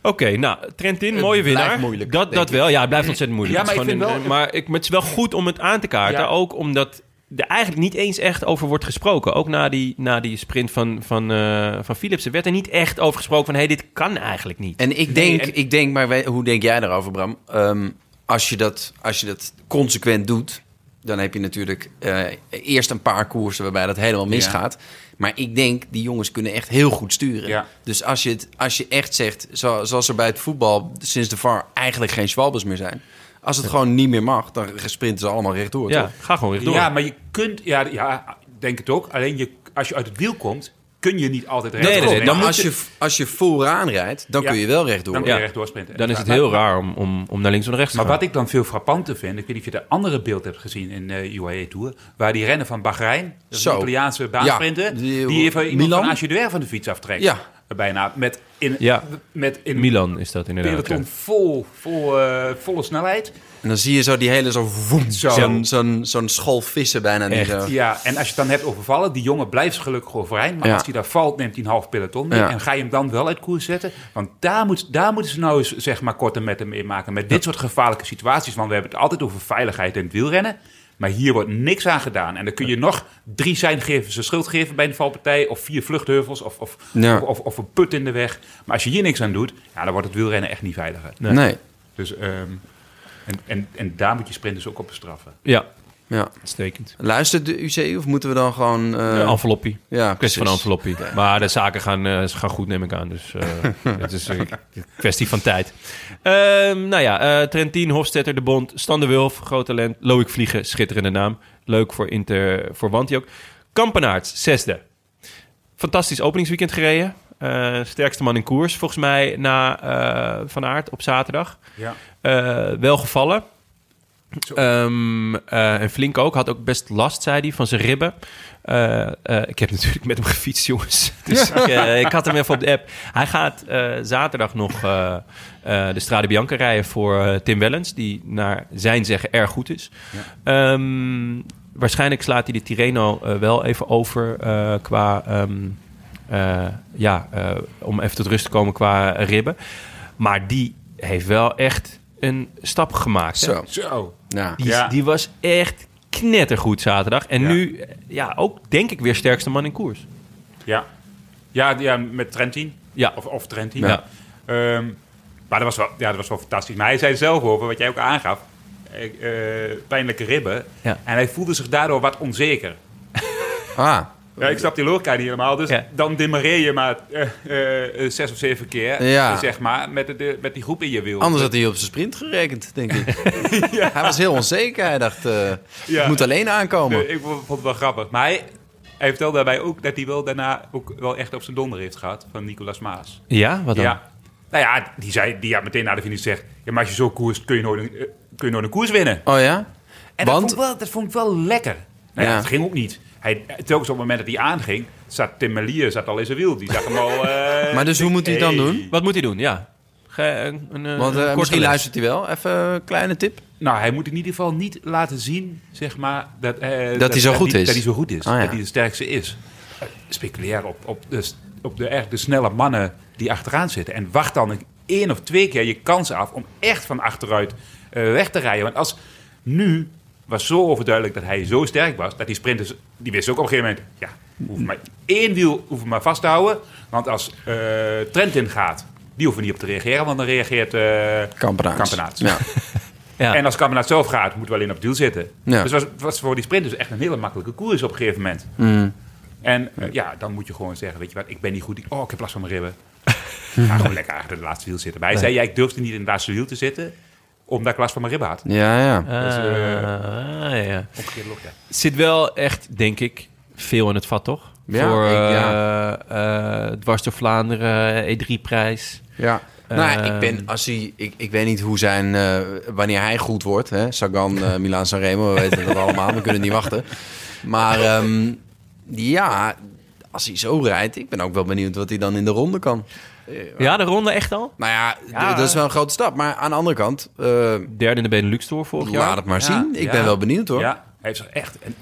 Oké, nou, Trentin, mooie
blijft
winnaar.
moeilijk,
dat
denk
dat wel. Ja, het blijft ontzettend moeilijk.
Ja,
Het is
maar ik
gewoon een-
vind
eh,
wel-
maar ik, maar het is wel goed om het aan te kaarten.
Ja.
Ook omdat er eigenlijk niet eens echt over wordt gesproken. Ook na die, na die sprint van, van, eh, van Philips. Er werd er niet echt over gesproken van... hé, hey, dit kan eigenlijk niet.
En ik denk, ik denk maar wij- hoe denk jij daarover, Bram? Ehm, als, je dat, als je dat consequent doet, dan heb je natuurlijk eh, eerst een paar koersen waarbij dat helemaal misgaat. Maar ik denk, die jongens kunnen echt heel goed sturen.
Ja.
Dus als je, het, als je echt zegt, zo- zoals er bij het voetbal sinds de VAR eigenlijk geen zwalbers meer zijn. Als het gewoon niet meer mag, dan sprinten ze allemaal rechtdoor.
ja,
toch?
ga gewoon weer door.
maar je kunt... Ja, ja, ik denk het ook. Alleen je, als je uit het wiel komt... kun je niet altijd rechtdoor.
nee, nee, dan
Maar
Maar
moet
als je, als je vooraan rijdt, dan
Ja.
kun je wel rechtdoor.
Dan kun je
Ja.
rechtdoor sprinten.
dan is het
Maar-
heel raar om, om, om naar links en rechts te
Maar
gaan.
wat ik dan veel frappanter vind, ik weet niet of je dat andere beeld hebt gezien in eh, de UAE E Tour, waar die rennen van Bahrein, dat is een
Zo.
Italiaanse baansprinter,
Ja, die-
die even iemand
Milan?
van Ageduer van de fiets aftrekt.
Ja.
Bijna met in,
Ja.
met in
Milan is dat
een
inderdaad.
peloton vol, vol, eh, volle snelheid.
En dan zie je zo die hele zo woem,
Zo.
zo'n zo'n zo'n schol vissen bijna. eh. die
Echt.
zo-
Ja, en als je het dan hebt overvallen, die jongen blijft gelukkig overeind. Maar
Ja.
als hij daar valt, neemt hij een half peloton mee.
Ja.
En ga je hem dan wel uit koers zetten? Want daar, moet, daar moeten ze nou eens zeg maar, korte metten mee maken. Met dit soort gevaarlijke situaties. Want we hebben het altijd over veiligheid in het wielrennen. Maar hier wordt niks aan gedaan. En dan kun je nog drie zijngevers een schild geven bij een valpartij. Of vier vluchtheuvels. Of, of,
Ja.
of, of, of een put in de weg. Maar als je hier niks aan doet, ja, dan wordt het wielrennen echt niet veiliger.
Nee.
Dus, ehm, en, en, en daar moet je sprinters ook op bestraffen.
Ja.
Ja.
Stekend.
Luistert de UC of moeten we dan gewoon... eh,
Een enveloppie.
ja,
Kwestie van
precies.
enveloppie. Maar de zaken gaan, eh, ze gaan goed, neem ik aan. Dus eh, het is een kwestie van tijd. Ehm, nou ja, eh, Trentin, Hofstetter, De Bond, Stan de Wulf, groot talent. Loïc Vliegen, schitterende naam. Leuk voor, Inter, voor Wanty ook. Kampenaerts, zesde. Fantastisch openingsweekend gereden. Eh, sterkste man in koers, volgens mij, na eh, Van Aert op zaterdag.
Ja.
Eh, wel gevallen. Ehm, eh, en flink ook. Had ook best last, zei hij, van zijn ribben. Eh, eh, ik heb natuurlijk met hem gefietst, jongens. Dus ik, eh, ik had hem even op de app. Hij gaat eh, zaterdag nog eh, eh, de Strade Bianca rijden voor eh, Tim Wellens. Die naar zijn zeggen erg goed is. Ehm, waarschijnlijk slaat hij de Tirreno eh, wel even over eh, qua... ehm, eh, ja, eh, om even tot rust te komen qua ribben. Maar die heeft wel echt een stap gemaakt. hè?
Zo,
Zo.
ja.
Die,
Ja.
die was echt knettergoed zaterdag. En
Ja.
nu, eh, ja, ook denk ik weer sterkste man in koers.
Ja. Ja, ja, met Trentin.
Ja.
Of, of Trentin.
Ja.
Ehm, maar dat was, wel, ja, dat was wel fantastisch. Maar hij zei zelf over, wat jij ook aangaf, eh, eh, pijnlijke ribben.
Ja.
En hij voelde zich daardoor wat onzeker. Eh,
Ah,
Ja, ik snap die logica niet helemaal. Dus
Ja.
dan demarreer je maar eh, eh, eh, zes of zeven keer,
Ja.
zeg maar, met, de- de, met die groep in je wiel.
anders had hij op zijn sprint gerekend, denk ik. Hij was heel onzeker. Hij dacht, eh,
Ja.
ik moet alleen aankomen.
Eh, ik vond het wel grappig. Maar hij, hij vertelde daarbij ook dat hij wel daarna ook wel echt op zijn donder heeft gehad van Nicolas Maas.
Ja, wat dan?
Ja. Nou ja, die zei die had meteen na de finish zegt, ja, maar als je zo koerst, kun je nooit een, eh, kun je nooit een koers winnen.
Oh ja?
En
Want-
dat, vond ik wel, dat vond ik wel lekker. Nou ja,
Ja.
dat ging ook niet. Hij, telkens op het moment dat hij aanging, zat Tim Melier zat al in zijn wiel. Die zag hem al... eh,
Maar dus hoe moet hij het dan
hey.
doen?
Wat moet hij doen? Ja. Ge- een, een, een
Want eh,
korte
misschien
les.
luistert hij wel. Even een kleine tip.
Nou, hij moet in ieder geval niet laten zien, zeg maar, dat, eh, dat,
hij zo goed is.
Dat hij zo goed is.
Ah, ja.
Dat hij de sterkste is. Eh, Speculeer op, op, de, s- op de, echt de snelle mannen die achteraan zitten. En wacht dan een- één of twee keer je kans af om echt van achteruit eh, weg te rijden. Want als nu was zo overduidelijk dat hij zo sterk was, dat die sprinters, die wisten ook op een gegeven moment, ja, hoef maar één wiel hoeven maar vast te houden. Want als eh Trentin gaat, die hoeven niet op te reageren, want dan reageert eh
Kampenaerts.
Kampenaerts.
Ja.
Ja.
En als Kampenaerts zelf gaat, moet wel in op duel zitten.
Ja.
Dus het was, was voor die sprinters echt een hele makkelijke koers op een gegeven moment. En eh, ja, dan moet je gewoon zeggen, weet je wat, ik ben niet goed. Ik- Oh, ik heb last van mijn ribben. Ga gewoon lekker achter de laatste wiel zitten. Maar hij zei, ja, ik durfde niet in het laatste wiel te zitten, omdat ik last van mijn ribben had.
Ja, ja.
Ah,
Dus,
ja.
Omgekeerde logica.
Zit wel echt, denk ik, veel in het vat, toch?
Ja,
Voor
ik-
eh
ja.
eh, dwars door Vlaanderen, E E3-prijs.
Ja. Nou, ja,
Ehm.
ik ben als hij, ik, ik weet niet hoe zijn, eh, wanneer hij goed wordt. Hè? Sagan, eh Milan Sanremo, we weten dat allemaal, we kunnen niet wachten. Maar ehm, ja, als hij zo rijdt, ik ben ook wel benieuwd wat hij dan in de ronde kan.
Ja, de ronde echt al?
Nou ja, d- dat is wel een grote stap. Maar aan de andere kant, eh,
Derde in de Benelux Tour vorig jaar.
laat het maar zien. Ik
ja.
ben wel benieuwd hoor.
Ja, hij heeft zich echt. En,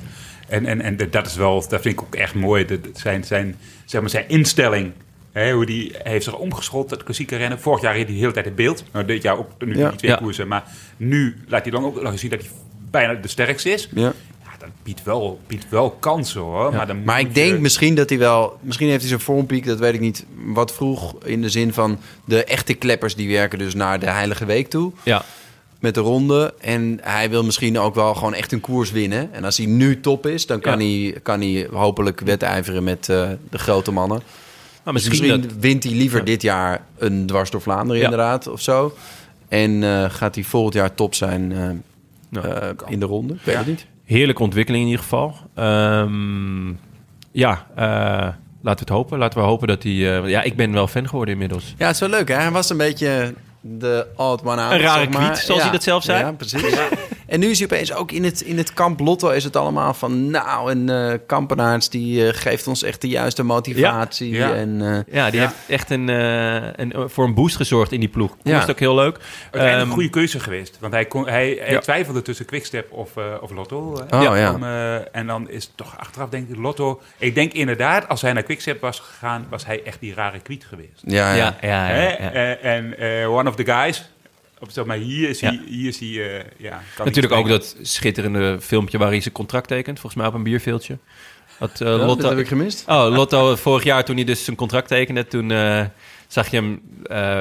en, en, en dat is wel, dat vind ik ook echt mooi. Dat- dat Zijn, zijn, zeg maar zijn instelling. Hè, hoe die hij heeft zich omgeschold, dat klassieke rennen. Vorig jaar reed hij de hele tijd in beeld. Nou, dit jaar ook nu
Ja.
die twee
Ja.
koersen. Maar nu laat hij dan ook laten zien dat hij bijna de sterkste is.
Ja.
dat biedt wel, biedt wel kansen hoor. Maar, dan
Maar
moet
ik denk
je-
misschien dat hij wel... Misschien heeft hij zijn vormpiek, dat weet ik niet, wat vroeg. In de zin van de echte kleppers die werken dus naar de Heilige Week toe.
Ja.
met de ronde. En hij wil misschien ook wel gewoon echt een koers winnen. En als hij nu top is, dan kan,
Ja.
hij, kan hij hopelijk wedijveren met eh, de grote mannen.
Nou,
Misschien,
misschien dat-
wint hij liever dit jaar een dwars door Vlaanderen
Ja.
inderdaad of zo. En eh, gaat hij volgend jaar top zijn eh,
Nou,
eh, in de ronde? Ik weet het niet.
Heerlijke ontwikkeling in ieder geval. Ehm, ja, eh, laten we het hopen. Laten we hopen dat hij... eh, ja, ik ben wel fan geworden inmiddels.
Ja, het is wel leuk. Hè? Hij was een beetje de old man out.
Een rare
zeg maar.
kwiet, zoals
Ja.
hij dat zelf zei.
Ja, precies. En nu is hij opeens ook in het, in het kamp Lotto is het allemaal van... nou, een eh kampenaars die eh, geeft ons echt de juiste motivatie.
Ja. Ja.
En, eh,
Ja, die heeft echt een, eh, een, voor een boost gezorgd in die ploeg.
Ja.
Dat is ook heel leuk.
Uiteindelijk
Ehm,
een goede keuze geweest. Want hij, kon, hij, hij
Ja.
twijfelde tussen Quickstep of, eh, of Lotto. hè.
Oh, ja.
Om, eh, en dan is het toch achteraf denk ik Lotto. Ik denk inderdaad, als hij naar Quickstep was gegaan, was hij echt die rare kwiet geweest.
ja,
ja,
ja.
ja, ja,
Hè?
ja.
Eh, en eh, one of the guys. Op, zeg maar hier is hij...
Ja.
Hier is hij eh, ja, kan niet
Natuurlijk ook
spreken.
dat schitterende filmpje waar hij zijn contract tekent. Volgens mij op een bierveeltje. Dat, eh,
Ja,
Lotto,
dat heb ik gemist.
Oh, Lotto, vorig jaar toen hij dus zijn contract tekende, toen eh, zag je hem eh,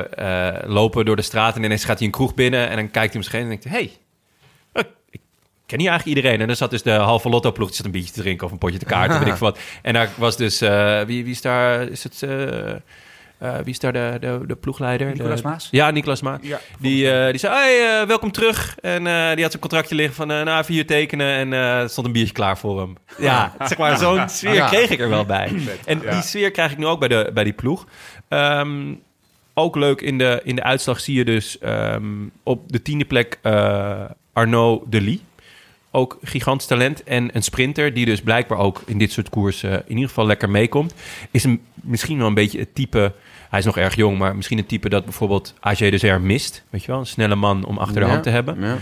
eh, lopen door de straat en ineens gaat hij een kroeg binnen en dan kijkt hij om zich heen en denkt hij, hey, eh, ik ken hier eigenlijk iedereen. En daar zat dus de halve lotto ploeg, die zat een biertje te drinken of een potje te kaarten, weet ik veel wat. En daar was dus, eh, wie, wie is daar, is het, eh, eh, wie is daar de, de, de ploegleider?
Nicolaas
De-
Maas?
Ja, Nicolas Maas.
Ja,
die, eh, die zei, hey, eh, welkom terug. En eh, die had zijn contractje liggen van, eh nou, even hier tekenen. En eh, er stond een biertje klaar voor hem. Ja, zeg maar, zo'n sfeer
Ja.
kreeg ik er wel bij. En
ja.
die sfeer krijg ik nu ook bij, de, bij die ploeg. Ehm, ook leuk in de, in de uitslag zie je dus ehm, op de tiende plek eh Arnaud Delis. Ook gigantisch talent en een sprinter die dus blijkbaar ook in dit soort koersen eh, in ieder geval lekker meekomt. Is een, misschien wel een beetje het type, hij is nog erg jong, maar misschien het type dat bijvoorbeeld AG dus er mist. Weet je wel, een snelle man om achter de hand te hebben.
Ja.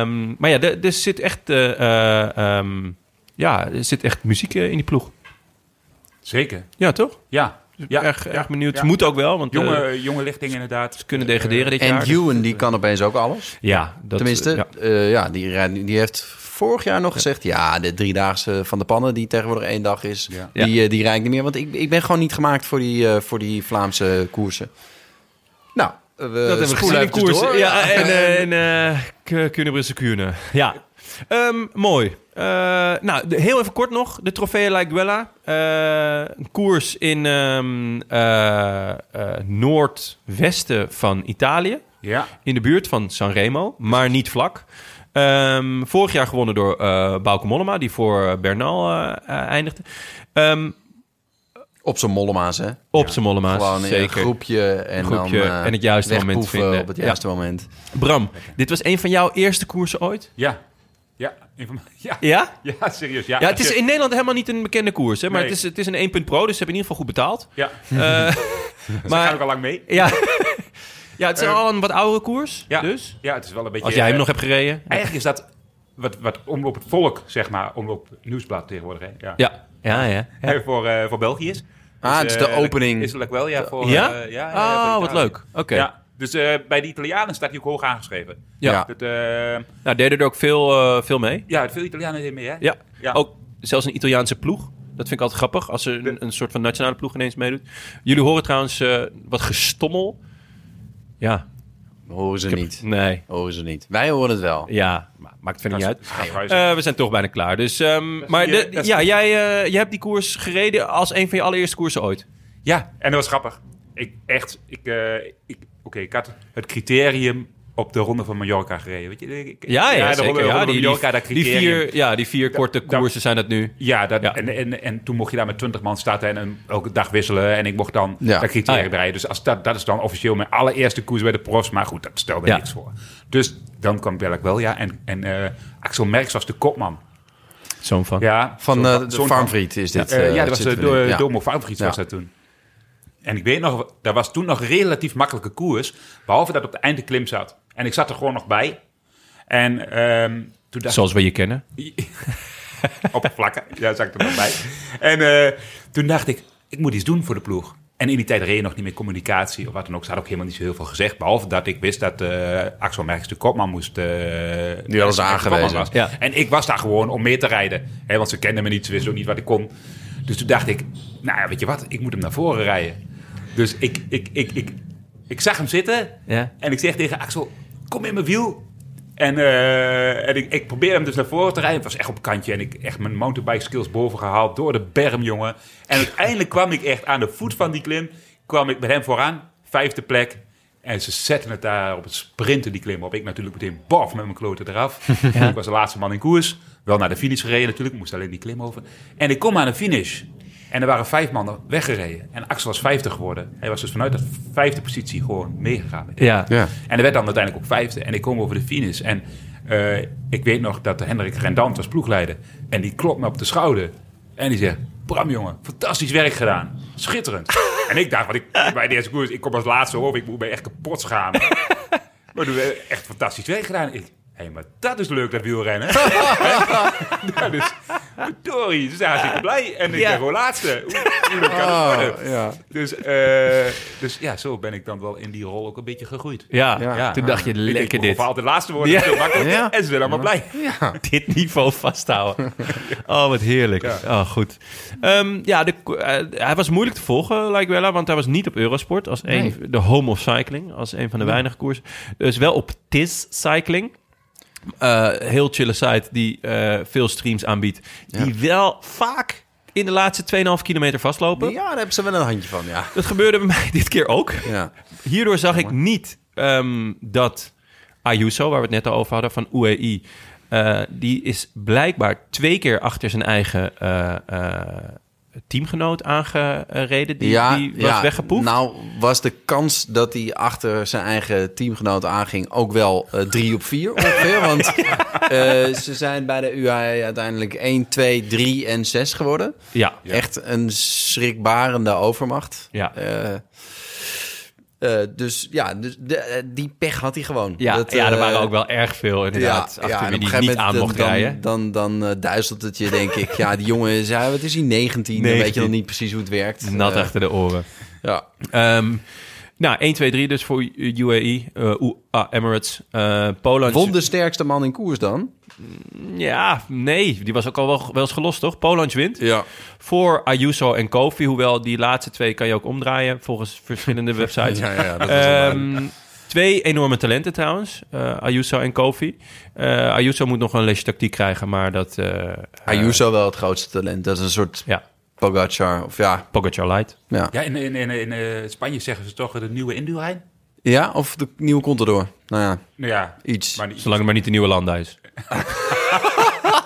Ehm, maar ja, er er zit echt, eh, eh, ehm, ja, er zit echt muziek eh, in die ploeg.
Zeker.
Ja, toch?
Ja. ja.
Dus erg, erg benieuwd.
Ja.
Moet ook wel, want
Jonge,
eh,
jonge lichting inderdaad.
ze kunnen degraderen
eh,
dit
En
jaar. dus.
Ewan, die kan opeens ook alles.
Ja, dat, eh,
Tenminste,
ja.
ja, ja die, rijdt- die heeft vorig jaar nog gezegd... ja, de driedaagse van de pannen, die tegenwoordig één dag is...
Ja.
die, eh, die rijd ik niet meer. Want ik, ik ben gewoon niet gemaakt voor die, eh, voor die Vlaamse koersen. Nou, eh, we
dat hebben we gezien in
even
koers.
door.
dus Ja, en, eh, en eh, K- Kuurne-Brussel, Kuurne. Ja. Ehm, mooi. Eh, nou, de- heel even kort nog. De Trofeo La Guella. Eh, een koers in ehm, eh, eh, noordwesten van Italië.
Eh, Ja.
In de buurt van Sanremo, maar niet vlak. Ehm, vorig jaar gewonnen door eh Bauke Mollema, die voor eh, Bernal eh, eh, eindigde. Ehm,
Op zijn mollema's, hè?
op zijn Mollema's,
Gewoon in een
zeker.
groepje en
Groepje
dan eh,
en het juiste moment
wegpoeven
vinden. Dus,
op het juiste moment.
Bram, dit was een van jouw eerste koersen ooit?
Ja. Ja. Een van- Ja.
Ja?
Ja, serieus. Ja,
Ja, het
als
is
je-
in Nederland helemaal niet een bekende koers, hè? maar
Nee.
het, is, het is een 1 punt pro, dus ze hebben in ieder geval goed betaald.
Ja,
Eh,
maar... gaan
maar
ook al lang mee.
ja, ja, het is
Eh,
al een wat oudere koers,
Ja.
dus
Ja, het is wel een beetje...
als jij hem
eh,
nog hebt gereden.
Eigenlijk is dat wat, wat omloop het volk, zeg maar, omloop nieuwsblad tegenwoordig. Hè? Ja.
Ja, ja, ja.
Hè, voor, eh, voor België is.
Ah, het is de
eh,
opening.
Is het wel, ja. Voor,
Ja?
eh, ja, ja, voor
Oh, wat
Italië.
leuk. Oké.
Ja, dus eh, bij de Italianen staat hij ook hoog aangeschreven.
Ja.
Ja.
Dat, eh,
Nou, deden er ook veel, eh, veel mee.
ja, veel Italianen deden mee, hè?
Ja.
Ja.
ook zelfs een Italiaanse ploeg. Dat vind ik altijd grappig, als er een, een soort van nationale ploeg ineens meedoet. Jullie horen trouwens eh, wat gestommel. Ja,
Horen ze niet.
nee,
Horen ze niet. Wij horen het wel.
ja, maar maakt verder niet uit.
Schaafhuis.
Eh, we zijn toch bijna klaar. Dus, ehm, maar
je-
de-
dat is-
ja, jij, eh, jij hebt die koers gereden als een van je allereerste koersen ooit.
ja, en dat was grappig. Ik echt, ik, eh, ik, oké, ik had het criterium op de ronde van Mallorca gereden. Weet je, ik,
Ja, ja,
de
zeker.
ronde,
ja,
ronde van
die,
Mallorca, dat
die, die
criterium.
vier, ja, die vier korte
dat-
koersen zijn dat nu.
Ja, dat,
Ja.
En, en, en toen mocht je daar met 20 man staan en een- elke dag wisselen. En ik mocht dan
Ja.
dat criterium
Ah, ja.
draaien. Dus als dat, dat is dan officieel mijn allereerste koers bij de profs. Maar goed, dat stelde
Ja.
niks voor. Dus dan kwam Belk wel, ja. En, en eh, Axel Merks was de kopman.
Zo'n van.
Ja,
Van
zo'n-
eh, de
zo'n-
Farmvriet is dit.
Eh,
eh,
ja, dat was
zitten
de
we nu.
Do-
Ja.
Domo Farmvriet was
Ja.
dat toen. En ik weet nog, dat was toen nog een relatief makkelijke koers. Behalve dat op de einde klim zat. En ik zat er gewoon nog bij. En ehm, toen dacht ik...
Zoals we je kennen.
oppervlakken. Ja, zag ik er nog bij. En eh, toen dacht ik, ik moet iets doen voor de ploeg. En in die tijd reed je nog niet meer communicatie of wat dan ook. Ze had ook helemaal niet zo heel veel gezegd. Behalve dat ik wist dat eh, Axel Merks de kopman moest... eh,
Die hadden ze
kopman
aangewezen.
was.
Ja.
En ik was daar gewoon om mee te rijden. Hè, want ze kenden me niet, ze wisten ook niet wat ik kon. Dus toen dacht ik, nou ja, weet je wat, ik moet hem naar voren rijden. Dus ik, ik, ik, ik, ik zag hem zitten
Ja.
en ik zeg tegen Axel, kom in mijn wiel. En, eh, en ik, ik probeer hem dus naar voren te rijden. Het was echt op een kantje. En ik echt mijn mountainbike skills boven gehaald door de berm, jongen. En uiteindelijk kwam ik echt aan de voet van die klim. Kwam ik met hem vooraan, vijfde plek. En ze zetten het daar op het sprinten, die klim op. Ik natuurlijk meteen bof met mijn kloten eraf. Ik was de laatste man in koers. Wel naar de finish gereden natuurlijk. Moest alleen die klim over. En ik kom aan de finish. En er waren vijf mannen weggereden. En Axel was vijftig geworden. Hij was dus vanuit dat vijfde positie gewoon meegegaan. met
Ja.
Ja.
en er werd dan uiteindelijk ook vijfde. En ik kom over de finish. En eh, ik weet nog dat Hendrik Rendant was ploegleider. En die klopt me op de schouder. En die zegt, Bram jongen, fantastisch werk gedaan. Schitterend. en ik dacht, wat ik, bij de eerste koers, ik kom als laatste over. Ik moet me echt kapot schamen. maar we hebben echt fantastisch werk gedaan. Ik, Hé, maar dat is leuk, dat wielrennen. ja, dus, verdorie, ze zijn hartstikke blij. En ik ben gewoon laatste. Hoe, hoe dat kan het worden?
Oh, ja.
Dus, eh, dus ja, zo ben ik dan wel in die rol ook een beetje gegroeid.
Ja.
Ja.
toen dacht je,
Ik denk,
lekker
ik moet
dit.
Vooral de laatste woorden.
Ja.
Ja. makkelijk.
Ja.
En ze zijn allemaal blij.
dit niveau vasthouden. Oh, wat heerlijk. Oh, goed. Ehm, ja, de, ko- eh, hij was moeilijk te volgen, lijkt wel, want hij was niet op Eurosport als een, de home of cycling, als een van de weinige koersen. Dus wel op TIS Cycling. eh, heel chille site die eh, veel streams aanbiedt. Die wel vaak in de laatste 2,5 kilometer vastlopen.
Ja, daar hebben ze wel een handje van, ja.
Dat gebeurde bij mij dit keer ook.
ja.
Hierdoor zag ik niet ehm, dat Ayuso, waar we het net al over hadden, van UAE... eh, die is blijkbaar twee keer achter zijn eigen eh, eh, teamgenoot aangereden. Die, die was weggepoept.
Nou was de kans dat hij achter zijn eigen teamgenoot aanging ook wel eh, drie op vier ongeveer. Want eh, ze zijn bij de UAE uiteindelijk 1, 2, 3 en 6 geworden.
ja.
Echt een schrikbarende overmacht.
Ja.
Eh, eh, dus ja, dus de- eh, die pech had hij gewoon.
Ja,
Dat,
ja, er
eh,
waren ook wel erg veel inderdaad. achter
en
wie
op een
die
gegeven
niet aan mocht
moment eh, dan,
rijden.
Dan, dan, eh, duizelt het je, denk ik. Ja, die jongen is, ja, wat is hij, 19? Dan weet je
19.
nog niet precies hoe het werkt.
Nat
Eh,
achter de oren.
Ja.
Ehm, nou, 1, 2, 3 dus voor UAE, eh, U- ah, Emirates, eh Polen.
Won de sterkste man in koers dan?
Ja, nee, die was ook al wel, wel eens gelost, toch? Poland wint
Ja.
voor Ayuso en Kofi. Hoewel die laatste twee kan je ook omdraaien volgens verschillende websites.
Ja, ja, dat is
Ehm, twee enorme talenten trouwens, eh, Ayuso en Kofi. Eh, Ayuso moet nog een lesje tactiek krijgen, maar dat... eh,
Ayuso wel het grootste talent. Dat is een soort
Ja,
Pogacar. Of ja,
Pogacar light.
ja.
Ja, in, in, in, in eh, Spanje zeggen ze toch eh, de nieuwe Indurain?
ja of de nieuwe Contador. Nou ja,
Nou ja,
iets.
maar niet.
Zolang het maar niet de nieuwe Landa is.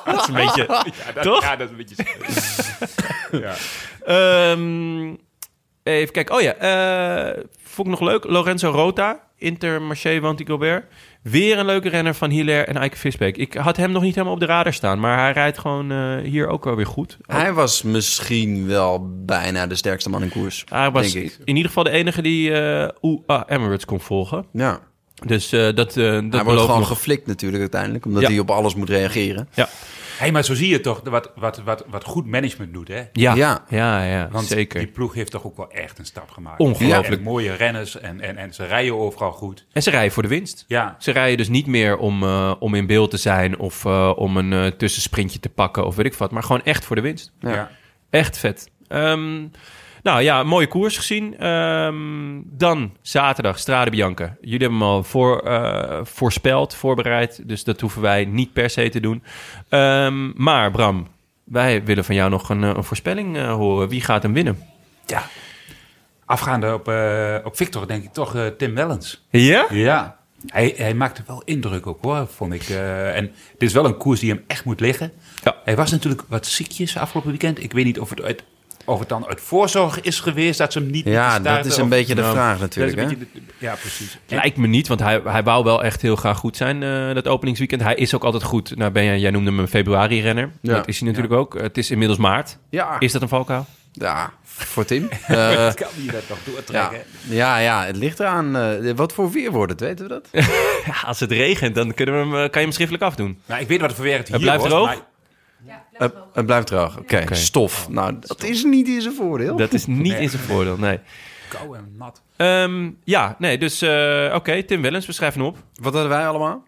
dat is een beetje...
Ja, dat,
Toch?
Ja, dat is een beetje... ja.
Ehm, even kijken. Oh ja, eh, vond ik nog leuk. Lorenzo Rota, Intermarché Wanty Gobert. Weer een leuke renner van Hilaire en Eike Visbeek. Ik had hem nog niet helemaal op de radar staan, maar hij rijdt gewoon eh, hier ook wel weer goed.
Hij was misschien wel bijna de sterkste man in koers.
Hij was
denk ik.
in ieder geval de enige die eh UAE Emirates kon volgen.
Ja.
Dus eh, dat, eh dat
Hij wordt
belooft
gewoon
nog.
geflikt natuurlijk uiteindelijk, omdat
Ja.
hij op alles moet reageren.
ja.
Hey, maar zo zie je toch wat, wat, wat, wat goed management doet, hè?
Ja, ja,
Ja.
ja,
Want
zeker.
die ploeg heeft toch ook wel echt een stap gemaakt.
Ongelooflijk.
En mooie renners en, en, en ze rijden overal goed.
En ze rijden voor de winst.
Ja,
Ze rijden dus niet meer om, eh, om in beeld te zijn of eh, om een eh, tussensprintje te pakken of weet ik wat. Maar gewoon echt voor de winst.
ja.
Echt vet. Ehm, nou ja, mooie koers gezien. Ehm, dan zaterdag, Strade Bianca. Jullie hebben hem al voor, eh, voorspeld, voorbereid. Dus dat hoeven wij niet per se te doen. Ehm, maar Bram, wij willen van jou nog een, eh, een voorspelling eh, horen. Wie gaat hem winnen?
Ja. Afgaande op, eh, op Victor, denk ik toch eh, Tim Wellens.
Ja?
Ja. Hij, hij maakte wel indruk ook hoor, vond ik. Eh, en dit is wel een koers die hem echt moet liggen.
Ja.
Hij was natuurlijk wat ziekjes afgelopen weekend. Ik weet niet of het, uit, of het dan uit voorzorg is geweest dat ze hem niet
Ja,
moeten starten
dat is een
of-
beetje de
Nou,
vraag
dat is
natuurlijk, hè?
een beetje de- ja, precies.
Lijkt me niet, want hij, hij wou wel echt heel graag goed zijn eh, dat openingsweekend. Hij is ook altijd goed. Nou, ben jij, jij noemde hem een februari-renner.
Ja.
Dat is hij natuurlijk ook. Het is inmiddels maart.
Ja.
Is dat een valkuil?
Ja, voor Tim. Eh,
kan hij dat nog
ja.
doortrekken?
Ja, ja, het ligt eraan. eh, wat voor weer wordt het, weten we dat?
Ja, als het regent, dan kunnen we hem, eh, kan je hem schriftelijk afdoen.
Nou, ik weet wat voor werk het hier
blijft
was,
droog?
maar-
Eh, het blijft droog. Oké, stof. Nou, dat is niet in zijn voordeel.
Dat is niet in zijn voordeel, nee.
Kou en nat.
Ehm, ja, nee, dus eh, oké, Tim Wellens, we schrijven hem op.
Wat hadden wij allemaal?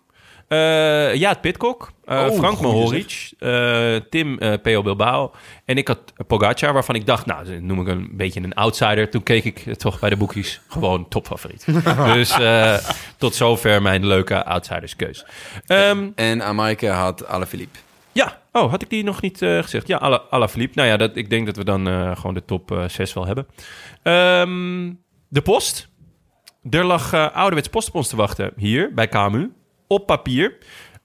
Eh, ja, het Pitcock, eh,
Oh,
Frank
goeie
Mohoric, eh, Tim eh P.O. Bilbao en ik had Pogacar, waarvan ik dacht, nou, dat noem ik een beetje een outsider. Toen keek ik eh, toch bij de boekjes gewoon topfavoriet. dus eh, tot zover mijn leuke outsiderskeus. Ehm,
En Amaike had Alaphilippe.
ja, oh, had ik die nog niet eh, gezegd? Ja, Ala- Alaphilippe. Nou ja, dat, ik denk dat we dan eh, gewoon de top eh, zes wel hebben. Ehm, de post. Er lag eh, ouderwets post op ons te wachten hier bij KMU. Op papier.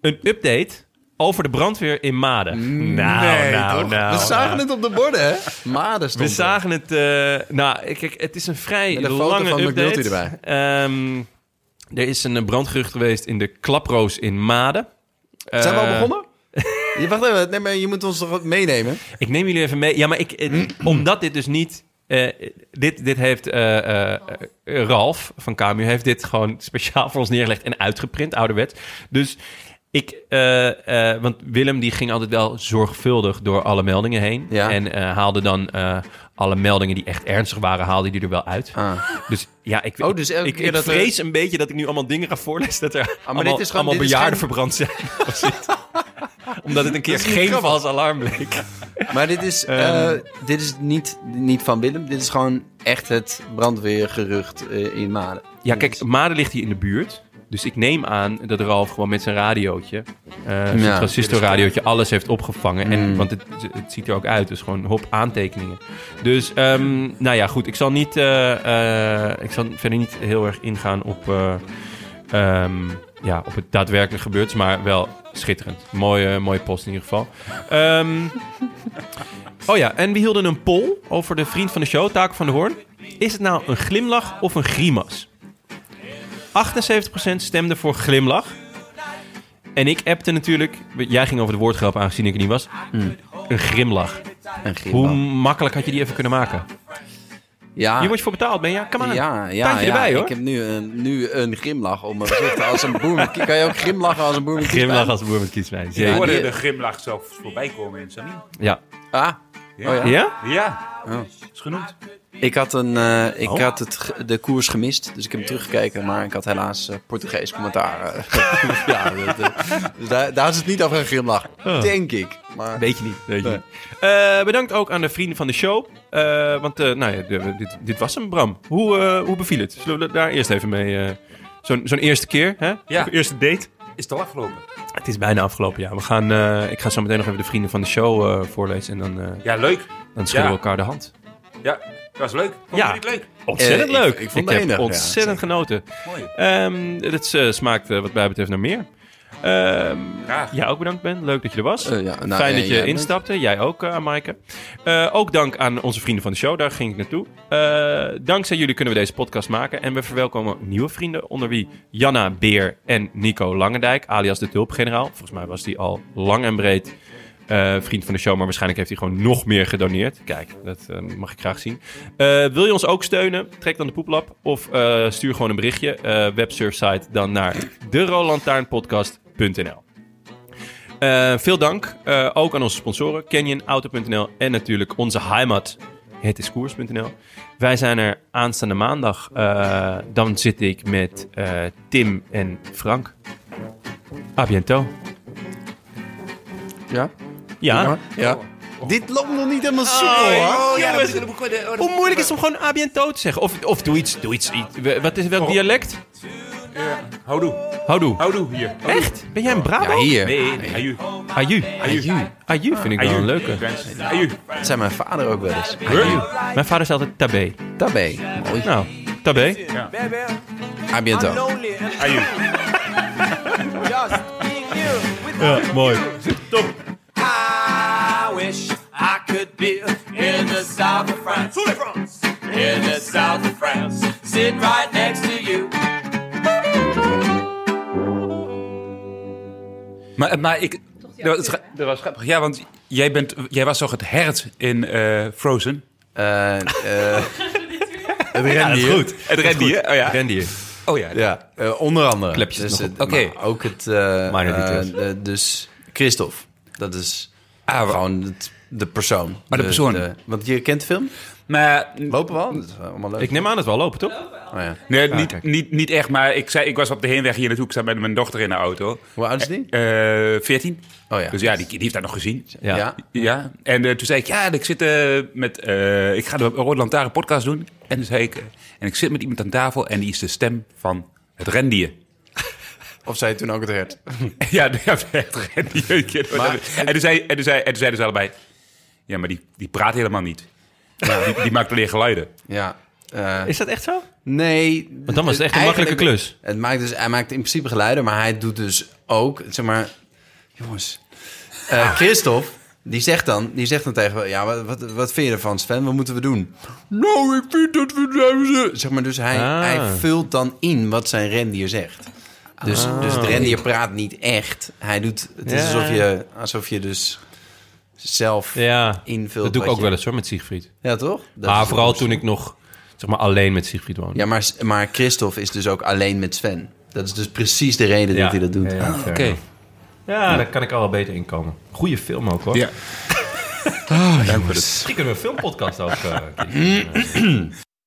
Een update over de brandweer in Maden. Nou, nou, nou.
We zagen
nou.
het op de borden, hè? Maden
We
stond er.
zagen het. eh, nou, kijk, het is een vrij
Met een foto
lange
van
update.
McNulty erbij.
Ehm, er is een eh, brandgerucht geweest in de klaproos in Maden.
Zijn we al
Eh,
begonnen? Je, wacht even, nee, maar je moet ons toch wat meenemen?
Ik neem jullie even mee. Ja, maar ik, eh, omdat dit dus niet. eh, dit, dit heeft eh, eh, eh, Ralf van KMU heeft dit gewoon speciaal voor ons neergelegd en uitgeprint, ouderwet. Dus ik, eh, eh, want Willem die ging altijd wel zorgvuldig door alle meldingen heen.
Ja.
En eh, haalde dan eh, alle meldingen die echt ernstig waren, haalde die er wel uit.
Ah.
Dus ja, ik,
Oh, dus elke
ik,
keer
ik
dat er- Ah,
vrees een beetje dat ik nu allemaal dingen ga voorlezen. Dat er allemaal,
dit is gewoon-
allemaal
dit is
bejaarden
geen-
verbrand zijn. of zoiets. Omdat het een keer
Dat is niet
geen
grappig.
vals alarm bleek.
Maar dit is, eh, dit is niet, niet van Willem. Dit is gewoon echt het brandweergerucht eh, in Maden.
Ja, kijk, Maden ligt hier in de buurt. Dus ik neem aan dat Ralf gewoon met zijn radiootje, eh
Ja.
zijn transistorradiootje, alles heeft opgevangen. En, want het, het ziet er ook uit, dus gewoon hop aantekeningen. Dus ehm, nou ja, goed. Ik zal, niet, eh, eh, ik zal verder niet heel erg ingaan op, eh, ehm, ja, op het daadwerkelijk gebeurd, maar wel schitterend. Mooie, mooie post in ieder geval. Ehm, oh ja, en we hielden een poll over de vriend van de show, Taak van de Hoorn. Is het nou een glimlach of een grimas? 78% stemde voor glimlach. En ik appte natuurlijk... Jij ging over de woordgrap aangezien ik er niet was. Een grimlach.
Een
Hoe
glimlach.
makkelijk had je die even kunnen maken?
Ja.
Hier word je voor betaald, ben je? Kom aan.
Ja, ja,
Tandje
ja.
erbij, hoor.
Ik heb nu een, nu een grimlach om mijn gezicht als een boer. met- Kan je ook grimlachen als een boer? met
Grimlach
kiespijn?
als boer met kiespijn.
Ik
Ja,
hoorde
die-
de grimlach zelf voorbij komen in Samir.
Ja.
Ah,
Ja.
Oh, ja.
Ja?
Ja,
Oh.
is genoemd.
Ik had, een, eh, ik had het, ge- de koers gemist, dus ik heb hem teruggekeken. Maar ik had helaas eh, Portugees commentaar. eh. ja, dat, eh, dus daar, daar is het niet over een grimlach. Denk ik. Maar
Weet je niet. Weet je
Nee.
niet. Eh, bedankt ook aan de vrienden van de show. Eh, want eh, nou ja, de- dit, dit was hem, Bram. Hoe, eh, hoe beviel het? Zullen we daar eerst even mee... eh, Zo'n zo'n eerste keer, hè?
Ja.
Eerste date.
Is het al afgelopen?
Het is bijna afgelopen, ja. We gaan, eh, ik ga zo meteen nog even de vrienden van de show eh, voorlezen. En dan, eh,
Ja, leuk.
dan schudden
Ja.
we elkaar de hand.
Ja, was leuk. Vond
Ja.
je het leuk?
Ontzettend
Eh, ik-
leuk.
ik vond het
heb
enig, ja,
ontzettend genoten.
Mooi.
Ehm het eh, smaakt eh, wat mij betreft naar meer. Ehm
Graag.
ja, ook bedankt Ben. Leuk dat je er was.
Eh, ja, nou,
Fijn
eh,
dat je
jij bent-
instapte. Jij ook, eh, aan Maaike. Eh, ook dank aan onze vrienden van de show. Daar ging ik naartoe. Eh, dankzij jullie kunnen we deze podcast maken. En we verwelkomen nieuwe vrienden. Onder wie Janna Beer en Nico Langendijk. Alias de Tulpgeneraal. Volgens mij was die al lang en breed eh, vriend van de show. Maar waarschijnlijk heeft hij gewoon nog meer gedoneerd. Kijk, dat eh, mag ik graag zien. Eh, wil je ons ook steunen? Trek dan de poeplap. Of eh, stuur gewoon een berichtje. eh websurfsite dan naar de eh, veel dank eh, ook aan onze sponsoren Canyon, Auto.nl en natuurlijk onze heimat hetiskoers.nl. Wij zijn er aanstaande maandag. Eh, dan zit ik met eh, Tim en Frank. A bientôt.
ja.
Ja. Oh,
ja. Dit loopt nog niet helemaal soepel, hoor.
ja, dat is- Hoe moeilijk is het om gewoon A bientôt te zeggen? Of, of doe iets, doe iets. iets- we- Wat is welk
Oh.
dialect?
Houdoe.
Houdoe.
Houdoe hier.
Echt? Ben jij een Brabo?
Ja, hier.
Nee, aju.
Aju.
Aju.
Aju vind ik wel
Aju.
een leuke.
Aju.
Dat zei mijn vader ook wel eens.
Aju. Mijn vader is altijd tabé.
Tabé. Mooi.
Nou, tabé.
A bientôt.
Aju.
Ja, mooi.
I wish I could be in the south of France. In the south of France. Sitting right next to you.
Maar, eh, maar ik... Dat was, gra- dat was grappig. Ja, want jij, bent, jij was toch het hert in eh, Frozen?
Eh, eh, Het rendier.
Het rendier. Oh ja.
Rendier.
Oh ja.
Ja, eh, onder andere.
Klepjes
dus,
nog
het-
op.
Oké.
maar Ook het... eh,
Minor
eh,
details. Ah,
de- dus Christophe. Dat is gewoon het- de persoon. Maar
de persoon.
want je kent de film?
Maar...
Lopen we al? Dat is wel allemaal leuk.
Ik neem aan dat we al lopen, toch?
Oh, ja.
Nee,
kijk.
niet, niet, niet echt, maar ik, zei, ik was op de heenweg hier naartoe. Ik zat met mijn dochter in de auto.
Hoe oud is die?
Eh, 14.
Oh ja.
Dus ja, die, die heeft dat nog gezien.
ja.
Ja, en eh, toen zei ik, ja, ik zit eh, met, eh, ik ga de Rode Lantaarn podcast doen. En toen zei ik, eh, en ik zit met iemand aan tafel en die is de stem van het rendier.
Of zei je toen ook het hert?
ja, de- ja, het rendier.
Maar-
en, toen zei, en, toen zei, en toen zeiden ze allebei, ja, maar die, die praat helemaal niet. Die, die maakt alleen geluiden.
Ja. Eh,
Is dat echt zo?
nee.
Want dan was het echt een
Eigenlijk-
makkelijke klus.
Het maakt dus, hij maakt in principe geluiden, maar hij doet dus ook, zeg maar, jongens.
Ah.
Eh Christophe, die zegt dan, die zegt dan tegen me, ja, wat, wat, wat vind je ervan, Sven? Wat moeten we doen? Nou, ik vind dat we zeg maar, dus hij,
Ah.
hij vult dan in wat zijn rendier zegt. Dus, dus het rendier praat niet echt. Hij doet, het is
Ah. Ja.
alsof je, alsof je dus zelf
Ja.
invult.
Dat doe
wat
ik ook
je-
wel eens hoor, met Siegfried.
Ja, toch? Dat
Maar
is-
vooral toen ik nog, zeg maar, alleen met Siegfried woonde.
Ja, maar, maar Christophe is dus ook alleen met Sven. Dat is dus precies de reden
Ja.
dat hij dat doet. Ah,
Ja, ja,
Oké.
Ja, daar kan ik al wel beter in komen. Goeie film ook hoor.
Ja.
Ah,
Misschien kunnen we een filmpodcast ook. eh, een keer.